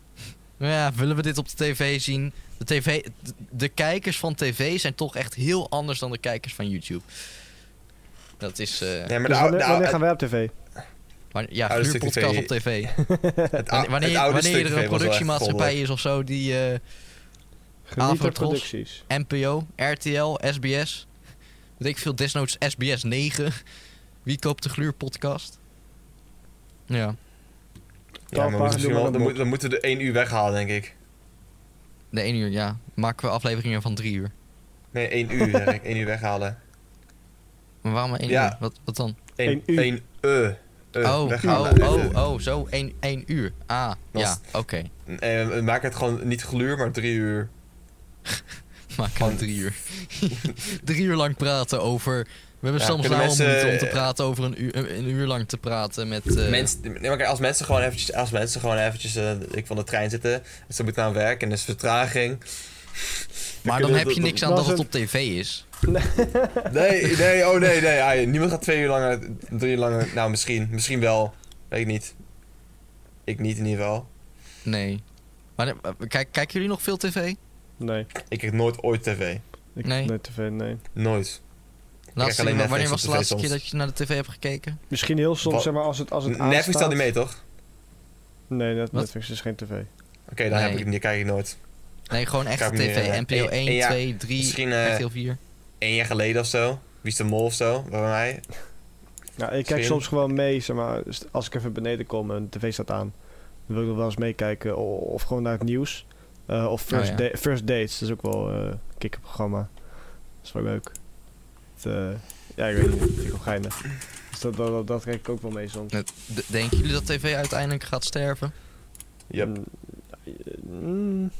[LAUGHS] ja, willen we dit op de tv zien? De, TV, de, de kijkers van tv zijn toch echt heel anders dan de kijkers van YouTube. Dat is, eh,
Nee,
Dus
maar de oude,
wanneer,
de
wanneer
oude,
gaan wij op tv?
maar- ja,
Oude stuk
huurpodcast
dus
op
TV.
tv.
[LAUGHS] het ou-
Wanneer,
het
wanneer,
oude
wanneer
stuk
er
TV
een
was wel echt
productiemaatschappij is of zo die eh,
Geniet
Afro
er
Tros.
producties.
NPO, RTL, SBS. Weet ik veel, desnoods SBS 9. Wie koopt de gluur podcast? Ja.
Ja, maar we
Talpa,
moeten misschien
doe
wel,
maar
dan,
dat
moet- dan moeten we de één uur weghalen, denk ik.
De 1 uur, ja. Maken we afleveringen van 3 uur.
Nee, één uur, [LAUGHS] zeg ik. Eén uur weghalen.
Maar waarom 1
Ja.
uur? Wat, wat dan?
Eén
Eén uur.
één, eh, eh,
oh,
weghalen.
oh,
Eh,
oh, oh, zo 1, 1 uur. Ah,
Dat
ja,
is-
oké. [LAUGHS]
eh, we maken het gewoon niet gluur, maar drie uur.
Maak
Gewoon-
gewoon 3
[LAUGHS]
uur. 3 uur lang praten over... We hebben
Ja,
soms
kunnen
nou al
mensen-
moeite om te praten over een uur, een uur lang te praten met... eh,
Mensen, nee, maar kijk, als mensen gewoon eventjes, als mensen gewoon eventjes eh, ik van de trein zitten, en ze moeten naar werk en er is
[LAUGHS]
vertraging.
maar dan
kunnen-
heb je
dat-
niks aan
dat
dat het
was
op tv is. [LAUGHS]
Nee, nee, oh nee, nee. ah, niemand gaat twee uur langer, drie uur langer. Nou, misschien, misschien wel. Weet ik niet. Ik niet in ieder geval.
Nee. Maar eh, kijk, kijken jullie nog veel tv?
Nee.
Ik kijk nooit ooit tv.
Ik,
Nee.
nee, tv, nee.
Nooit.
Laatste,
alleen
keer-
Netflix
wanneer
op
was de
tv
laatste keer
soms.
dat je naar de tv hebt gekeken?
Misschien heel soms,
Wat-
zeg maar, als het, als het
Netflix staat
aanstaat-
niet mee, toch?
Nee, net,
Wat?
Netflix is geen tv.
Oké, dan heb
Nee.
ik het niet, kijk ik nooit.
Nee, gewoon echt
Kijk, meneer, eh,
tv. NPO 1,
één- één jaar-
2, 3,
misschien, eh,
RTL 4.
Eén jaar geleden of zo. Wie is de mol of zo? Bij mij.
Ja, ik kijk
Misschien.
soms gewoon mee, zeg maar, st- als ik even beneden kom en de tv staat aan. Dan wil ik nog wel eens meekijken o- of gewoon naar het nieuws. Eh, of first,
Oh, ja.
da- first Dates, dat is ook wel eh kikker programma. Dat is wel leuk. Het, eh, ja, ik weet niet, vind ik wel geinig. Dus dat, dat, dat, dat kijk ik ook wel mee soms.
Eh, d- Denken jullie dat tv uiteindelijk gaat sterven?
Yep.
Mm, eh, mm.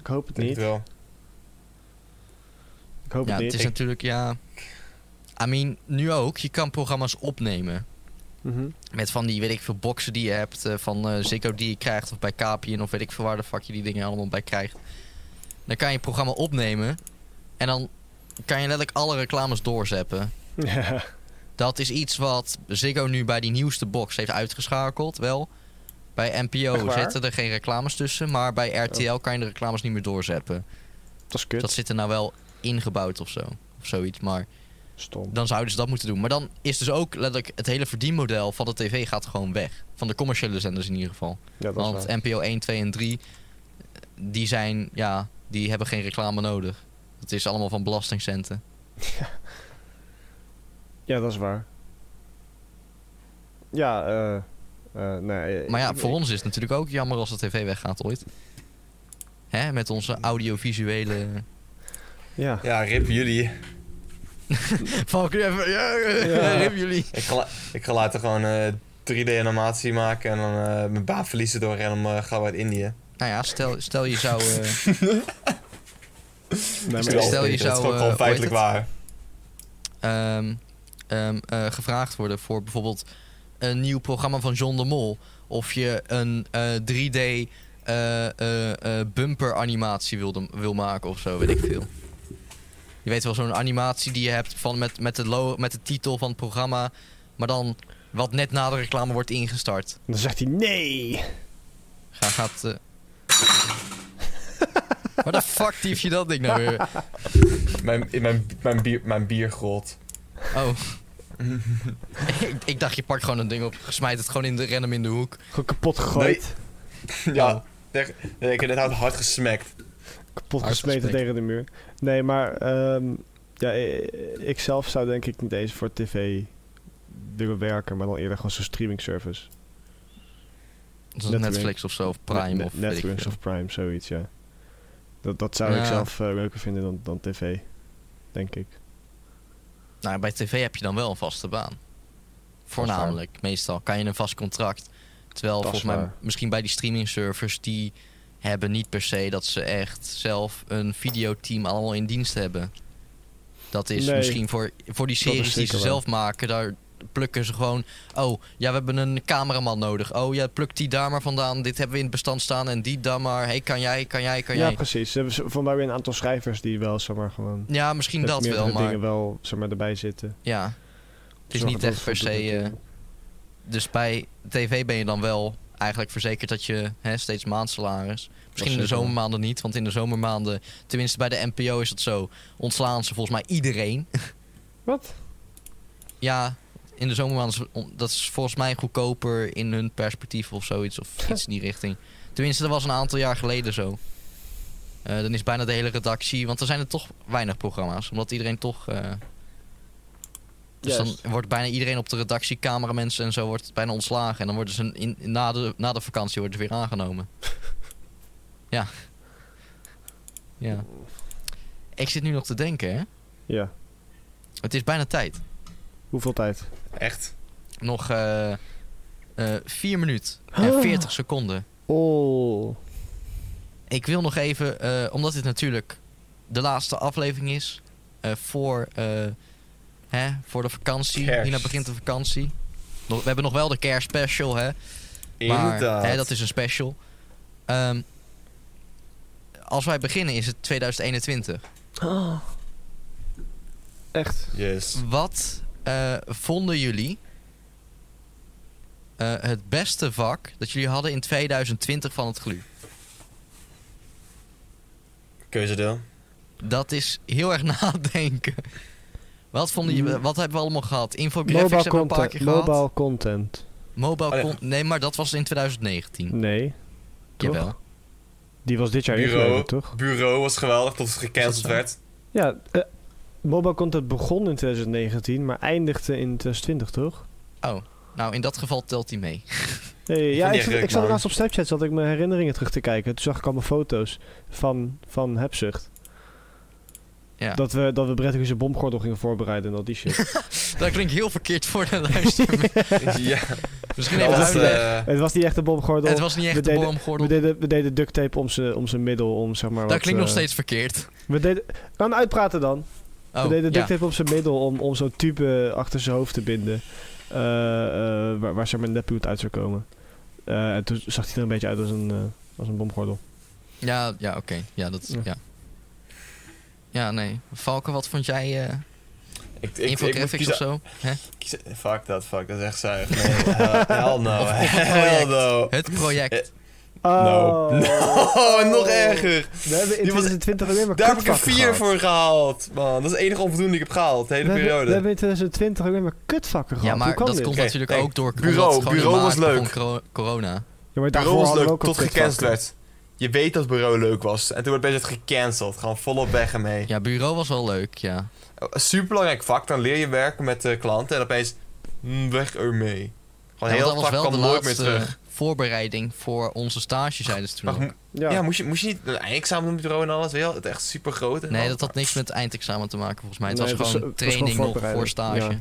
ik hoop het
Denk het
niet.
wel.
Ik hoop
ja,
het
het
niet.
is
Ik-
natuurlijk, ja... I mean, nu ook. Je kan programma's opnemen.
Mhm. [LAUGHS]
Met van die, weet ik veel, boxen die je hebt. eh, van eh Ziggo die je krijgt. Of bij KPN. Of weet ik veel waar de fuck je die dingen allemaal bij krijgt. Dan kan je een programma opnemen. En dan kan je letterlijk alle reclames doorzeppen.
Ja.
Dat is iets wat Ziggo nu bij die nieuwste box heeft uitgeschakeld, wel. Bij
Echt
NPO
waar? Oh.
zitten er geen reclames tussen, maar bij RTL kan je de reclames niet meer doorzetten.
Dat is
Dus dat
kut.
zit er nou wel ingebouwd of zo. Of zoiets, maar
Stom.
dan zouden ze dat moeten doen. Maar dan is dus ook letterlijk het hele verdienmodel van de tv gaat gewoon weg. Van de commerciële zenders in ieder geval.
Ja, dat is
Want
waar.
NPO 1, 2 en 3, die zijn, ja, die hebben geen reclame nodig. Het is allemaal van belastingcenten.
Ja, dat is waar. Ja, eh... eh, nee,
Maar ja,
ik-
voor ons is het natuurlijk ook jammer als de tv weggaat ooit. Hè, met onze audiovisuele...
Ja.
Ja, rip jullie.
Valk, nu even... Ja,
Ja.
[LAUGHS] rip jullie.
Ik ga, la- ik ga later gewoon eh 3D-animatie maken en dan eh, mijn baan verliezen door en dan eh, gaan we uit Indië.
Nou ja, stel, stel je zou... eh,
Nee,
Stel-
maar,
stel je
dat is
zou,
gewoon,
eh,
gewoon
hoe heet
feitelijk waar.
ehm, ehm, eh, gevraagd worden voor bijvoorbeeld een nieuw programma van John de Mol. Of je een eh, 3D eh, eh, eh, bumper animatie wilde, wil maken of zo, weet ik veel. Je weet wel, zo'n animatie die je hebt van met, met, de lo- met de titel van het programma, maar dan wat net na de reclame wordt ingestart.
dan zegt hij nee.
Ga, gaat. eh Waar de fuck dief je dat ding nou weer?
Mijn, in mijn, mijn, bier, mijn bier grolt.
Oh. [LAUGHS] ik, ik dacht, je pakt gewoon een ding op, smijt het gewoon in de random in de hoek.
Gewoon kapot gegooid.
Ja, echt, nee, ik heb net hard gesmekt.
Kapot
Hard
gesmeten
gesprek.
tegen de muur. Nee, maar ehm, ja, i- ik zelf zou denk ik niet eens voor tv willen werken, maar dan eerder gewoon zo'n streaming service.
Zoals
Netflix.
Netflix of zo, of Prime
Net-
of weet ik
Netflix
veel.
of Prime, zoiets, ja. Dat, dat zou ik
Ja.
zelf eh, leuker vinden dan, dan tv. denk ik.
Nou, bij tv heb je dan wel een vaste baan. Voornamelijk, meestal kan je een vast contract. Terwijl
Dat is
volgens mij
waar.
misschien bij die streaming servers die hebben niet per se dat ze echt zelf een videoteam allemaal in dienst hebben. Dat is
Nee.
misschien voor, voor die
Dat is
series die ze
zeker waar.
zelf maken, daar plukken ze gewoon. Oh, ja, we hebben een cameraman nodig. Oh ja, pluk die daar maar vandaan. Dit hebben we in het bestand staan en die daar maar. hey, kan jij, kan jij, kan
ja,
jij.
precies. Ze hebben z- van mij weer een aantal schrijvers die wel zomaar gewoon.
Ja, misschien
met
dat
meerdere
wel, maar
dingen wel zomaar erbij zitten.
ja. Het is
Zorgen
niet
dat
echt per se.
voldoende-
eh, dus bij tv ben je dan wel eigenlijk verzekerd dat je hè, steeds maandsalaris. Misschien in de
zeker wel.
zomermaanden niet, want in de zomermaanden, tenminste bij de NPO is het zo, ontslaan ze volgens mij iedereen.
[LAUGHS] Wat?
ja, in de zomermaanden, is- om- dat is volgens mij goedkoper in hun perspectief of zoiets,
[LAUGHS]
of iets in die richting. Tenminste, dat was een aantal jaar geleden zo. Eh, dan is bijna de hele redactie, want er zijn er toch weinig programma's, omdat iedereen toch. eh, dus
Juist.
dan wordt bijna iedereen op de redactie, cameramensen en zo, wordt bijna ontslagen. En dan worden ze in, in- na, de, na de vakantie worden ze weer aangenomen. ja. Ja. Ik zit nu nog te denken, hè.
Ja.
Het is bijna tijd.
Hoeveel tijd?
Echt?
Nog eh eh 4 minuten en 40 seconden.
Oh.
Ik wil nog even, eh, omdat dit natuurlijk de laatste aflevering is eh, voor, eh, hè, voor de vakantie.
Kerst.
Hierna begint de vakantie. Nog- we hebben nog wel de kerstspecial, hè?
Inderdaad.
Maar hè, dat is een special. Ehm, als wij beginnen is het 2021.
Echt?
Yes.
Wat eh, vonden jullie eh, het beste vak dat jullie hadden in 2020 van het GLU?
Keuzedeel.
Dat is heel erg [LAUGHS] nadenken. Wat vonden jullie,
Mm.
wat hebben we allemaal gehad? Infographics
Mobile
hebben we een paar
content.
keer gehad.
Mobile content.
Mobile
Oh, nee.
con- nee, maar dat was in 2019.
Nee. Toch?
Jawel.
Die was dit jaar
Bureau.
ingeleverd, toch?
Bureau was geweldig tot het
Is
gecanceld
dat zo?
werd.
Ja. eh, mobile content begon in 2019, maar eindigde in 2020, toch?
Oh, nou in dat geval telt hij mee. [LAUGHS]
Nee, ja,
die
ik, zat,
ruk,
ik zat
man.
laatst op Snapchat zat ik mijn herinneringen terug te kijken. Toen zag ik allemaal foto's van, van hebzucht.
Ja.
Dat we, dat we Brett zijn bomgordel gingen voorbereiden en al die shit. [LAUGHS]
Dat klinkt heel verkeerd voor de luisteraar.
[LAUGHS] ja,
Misschien
dat
even
was,
uitleggen.
eh,
het was niet echt een bomgordel.
Het was niet
we
echt de
deden-
boomgordel.
We deden, we deden duct tape om zijn om zijn middel, om zeg maar
Dat
wat,
klinkt nog
eh,
steeds verkeerd.
We deden, kan uitpraten dan.
Oh,
we deden
ja.
duct tape op zijn middel om, om zo'n tube achter zijn hoofd te binden. Eh, eh, waar, waar zeg maar net bloed uit zou komen. Eh, en toen zag hij er een beetje uit als een, eh, als een bomgordel.
Ja, ja oké. Ja, dat...
Ja.
Ja. ja, nee. Valken, wat vond jij? eh
ik, ik, ik, moet
infographics
kiezen-
of zo? Hè?
kiezen- Fuck dat, fuck. Dat is echt zuig. Nee, [LAUGHS] hell- hell
Of-
no.
of het
Oh, Hell
project.
no. Eh,
Het project.
No.
Oh.
[LAUGHS] No, nog erger.
We hebben in
Die was-
2020 alleen maar
Daar heb ik
kutvakken
een 4
gehad.
voor gehaald, man. Dat is het enige onvoldoende die ik heb gehaald,
We
de hele
hebben, we
periode.
hebben in 2020 alleen maar kutvakken
Ja,
gehad. Hoe
maar
kan
dat
dit?
komt
Oké,
natuurlijk
nee.
ook door
Bureau,
omdat het gewoon in
bureau was
maart
leuk.
begon coro- corona.
Ja, maar daarvoor
bureau was
hadden we
leuk
ook al
tot gecanceld
kutvakken.
werd. Je weet dat bureau leuk was. En toen werd best het gecanceld. Gewoon volop weg ermee.
Ja, bureau was wel leuk, ja.
Superbelangrijk vak. Dan leer je werken met de klanten. En opeens, mm, weg ermee. Gewoon
Ja, want
heel
dat
het
was
vak
wel de
kwam nooit meer
laatste
terug.
voorbereiding voor onze stage, zeiden ze toen
Maar
ook.
mo- ja, moest, je, moest je niet een eindexamen doen met bureau en alles? Weet je wel? Het echt super groot. en
Nee,
dan-
dat had niks met eindexamen te maken volgens mij. Het
Nee,
was
het was-
gewoon
het was gewoon
training nog voor
voorbereiding.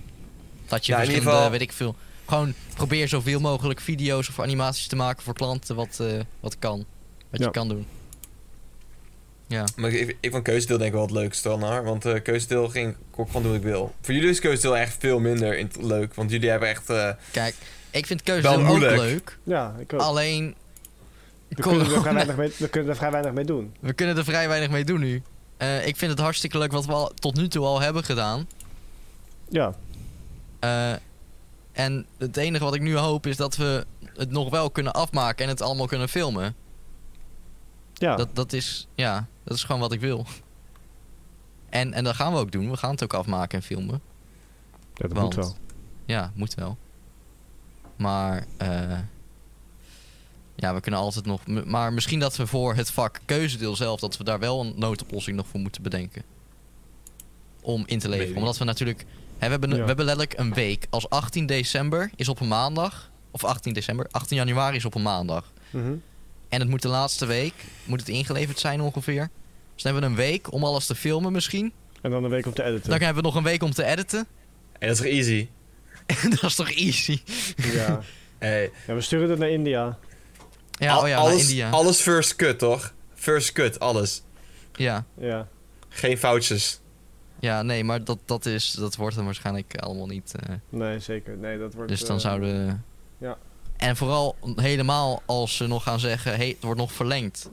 stage.
Ja.
Dat je
Ja, in ieder
verschillende,
geval-
weet ik veel... Gewoon probeer zoveel mogelijk video's of animaties te maken voor klanten wat, eh, wat kan. Wat
Ja.
je kan doen. Ja.
Maar ik, ik vond keuzedeel denk ik wel het leukste dan hoor. Want eh keuzedeel ging ik ook gewoon doen wat ik wil. Voor jullie is keuzedeel echt veel minder in- leuk. Want jullie hebben echt. eh,
Kijk, ik vind keuze
Wel
ook
moeilijk.
leuk.
Ja, ik ook.
Alleen...
we,
corona- [LAUGHS]
kunnen er vrij weinig mee, we kunnen er vrij weinig mee doen.
We kunnen er vrij weinig mee doen nu. Eh, ik vind het hartstikke leuk wat we al, tot nu toe al hebben gedaan.
Ja,
Eh, en het enige wat ik nu hoop is dat we het nog wel kunnen afmaken en het allemaal kunnen filmen.
ja.
Dat, dat is, ja, dat is gewoon wat ik wil. En, en dat gaan we ook doen. We gaan het ook afmaken en filmen.
Ja, dat
want-
moet wel.
Ja, moet wel. Maar, eh, ja, we kunnen altijd nog. m- Maar misschien dat we voor het vak keuzedeel zelf, dat we daar wel een noodoplossing nog voor moeten bedenken. Om in te leveren.
Maybe.
Omdat we natuurlijk. Hè, we, hebben,
Ja.
we hebben letterlijk een week. Als 18 december is op een maandag. Of 18 december. 18 januari is op een maandag.
Mhm.
En het moet de laatste week, moet het ingeleverd zijn ongeveer. Dus dan hebben we een week om alles te filmen misschien.
En dan een week om te editen.
Dan hebben we nog een week om te editen. [LAUGHS]
En dat is toch easy?
dat is toch easy?
Ja.
Hey,
ja, we sturen het naar India.
Ja,
al-
oh ja, naar
alles,
India.
alles first cut, toch? First cut, alles.
Ja.
Ja.
Geen foutjes.
ja, nee, maar dat, dat, is, dat wordt hem waarschijnlijk allemaal niet. eh,
Nee, zeker. Nee, dat wordt...
dus dan
eh,
zouden...
ja.
En vooral helemaal als ze nog gaan zeggen... Hey, het wordt nog verlengd.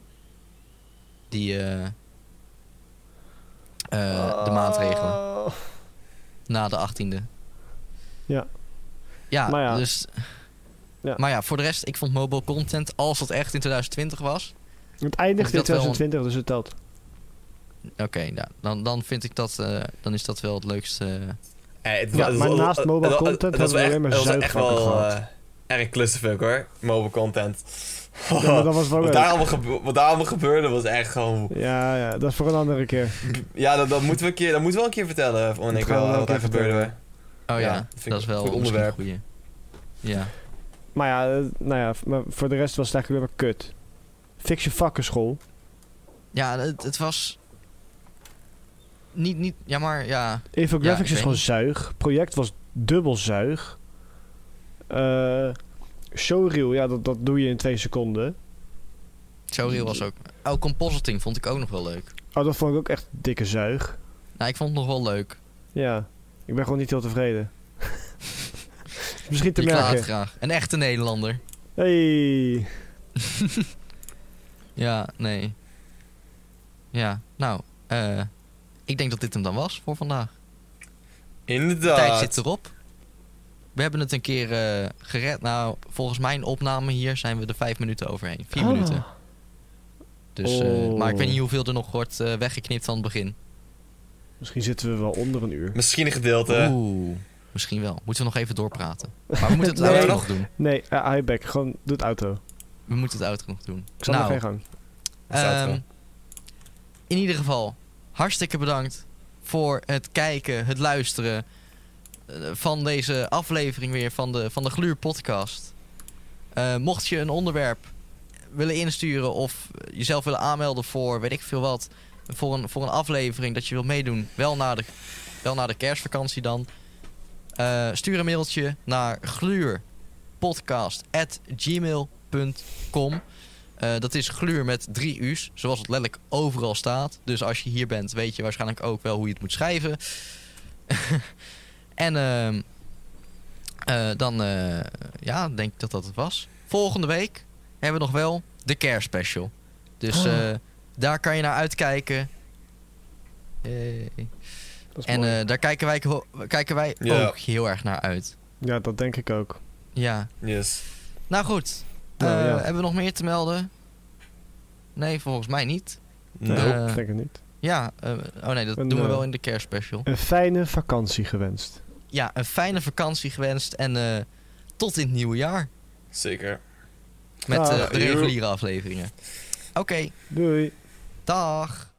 Die... eh, eh, De maatregelen.
Oh.
Na de 18e.
Ja.
Ja,
Maar ja.
dus...
Ja.
Maar ja, voor de rest, ik vond mobile content, als dat echt in 2020 was...
Het eindigt in
Dat wel-
2020, dus het telt.
Oké, nou, dan, dan vind ik dat... eh, dan is dat wel het leukste... eh,
Hey, het-
Ja,
het-
maar
het-
naast
het-
mobile
het- het-
content
het
hebben we
was
alleen maar
echt- het was echt
zuidvakken
wel
gehad.
eh, erg clusterfuck hoor, mobile content.
Oh,
Ja,
[LAUGHS]
maar dat was wel
wat,
leuk.
daar allemaal gebe- wat daar allemaal gebeurde was echt gewoon...
Ja, ja, dat is voor een andere keer.
Ja, dat, dat, moeten we een keer, dat moeten we wel een keer vertellen. eh, Van ik
gaan we wel
wel,
een
wat
keer
daar gebeurde.
vertellen.
Oh ja,
Ja, dat
dat,
vind ik-
is wel
goed
een
onderwerp.
onderwerp. goeie. Ja.
Maar ja, eh, nou ja, v- maar voor de rest was het eigenlijk weer maar kut. Fix je vakken school.
Ja, het, het was. Niet, niet, ja, maar ja. Ja, ik
Infographics
weet
is gewoon
niet.
zuig. Project was dubbel zuig. Eh, showreel, ja, dat, dat doe je in twee seconden.
Showreel was ook. Oh, compositing vond ik ook nog wel leuk.
Oh, dat vond ik ook echt dikke zuig.
Nou, ik vond het nog wel leuk.
Ja, ik ben gewoon niet heel
[LAUGHS]
tevreden. Is Misschien te
Ik laat
merken.
graag. Een echte Nederlander.
Hey.
Ja, nee. Ja, nou. eh, ik denk dat dit hem dan was voor vandaag. De tijd
Inderdaad.
zit erop. We hebben het een keer eh, gered. Nou, volgens mijn opname hier zijn we er vijf minuten overheen. Vier
Ah.
minuten. Dus, eh,
Oh.
Maar ik weet niet hoeveel er nog wordt eh, weggeknipt van het begin.
Misschien zitten we wel onder een uur.
Misschien een gedeelte.
Oeh, misschien wel. Moeten we nog even doorpraten. Maar we
[LAUGHS]
moeten het
Nee.
outro nog doen.
Nee, eh, hi back. Gewoon doe het auto.
We moeten het outro nog doen.
Ik zal
nou,
nog geen gang.
Dat is het outro.
ehm, in ieder geval, hartstikke bedankt voor het kijken, het luisteren eh, van deze aflevering weer van de, van de Gluur podcast. Eh, mocht je een onderwerp willen insturen of jezelf willen aanmelden voor weet ik veel wat, voor een, voor een aflevering dat je wilt meedoen, wel na de, wel na de kerstvakantie dan. eh, stuur een mailtje naar gluurpodcast.gmail.com. Eh, dat is gluur met drie u's, zoals het letterlijk overal staat. Dus als je hier bent, weet je waarschijnlijk ook wel hoe je het moet schrijven. [LAUGHS] en ehm, eh, dan eh, ja, denk ik dat dat het was. Volgende week hebben we nog wel de kerstspecial. Dus
Oh.
eh, daar kan je naar uitkijken. Yay.
Dat is
En
mooi.
eh, daar kijken wij, ho- kijken wij
Ja.
ook heel erg naar uit.
ja, dat denk ik ook.
Ja.
Yes.
Nou goed.
Nou,
Eh,
ja.
Hebben we nog meer te melden? Nee, volgens mij niet.
Nope.
Eh,
ik denk het niet.
Ja, eh, oh nee, dat
Een,
doen we
eh,
wel in de kerstspecial.
Een fijne vakantie gewenst.
Ja, een fijne vakantie gewenst en eh, tot in het nieuwe jaar
Zeker.
met
Dag.
eh, de reguliere afleveringen. Oké,
Doei.
dag.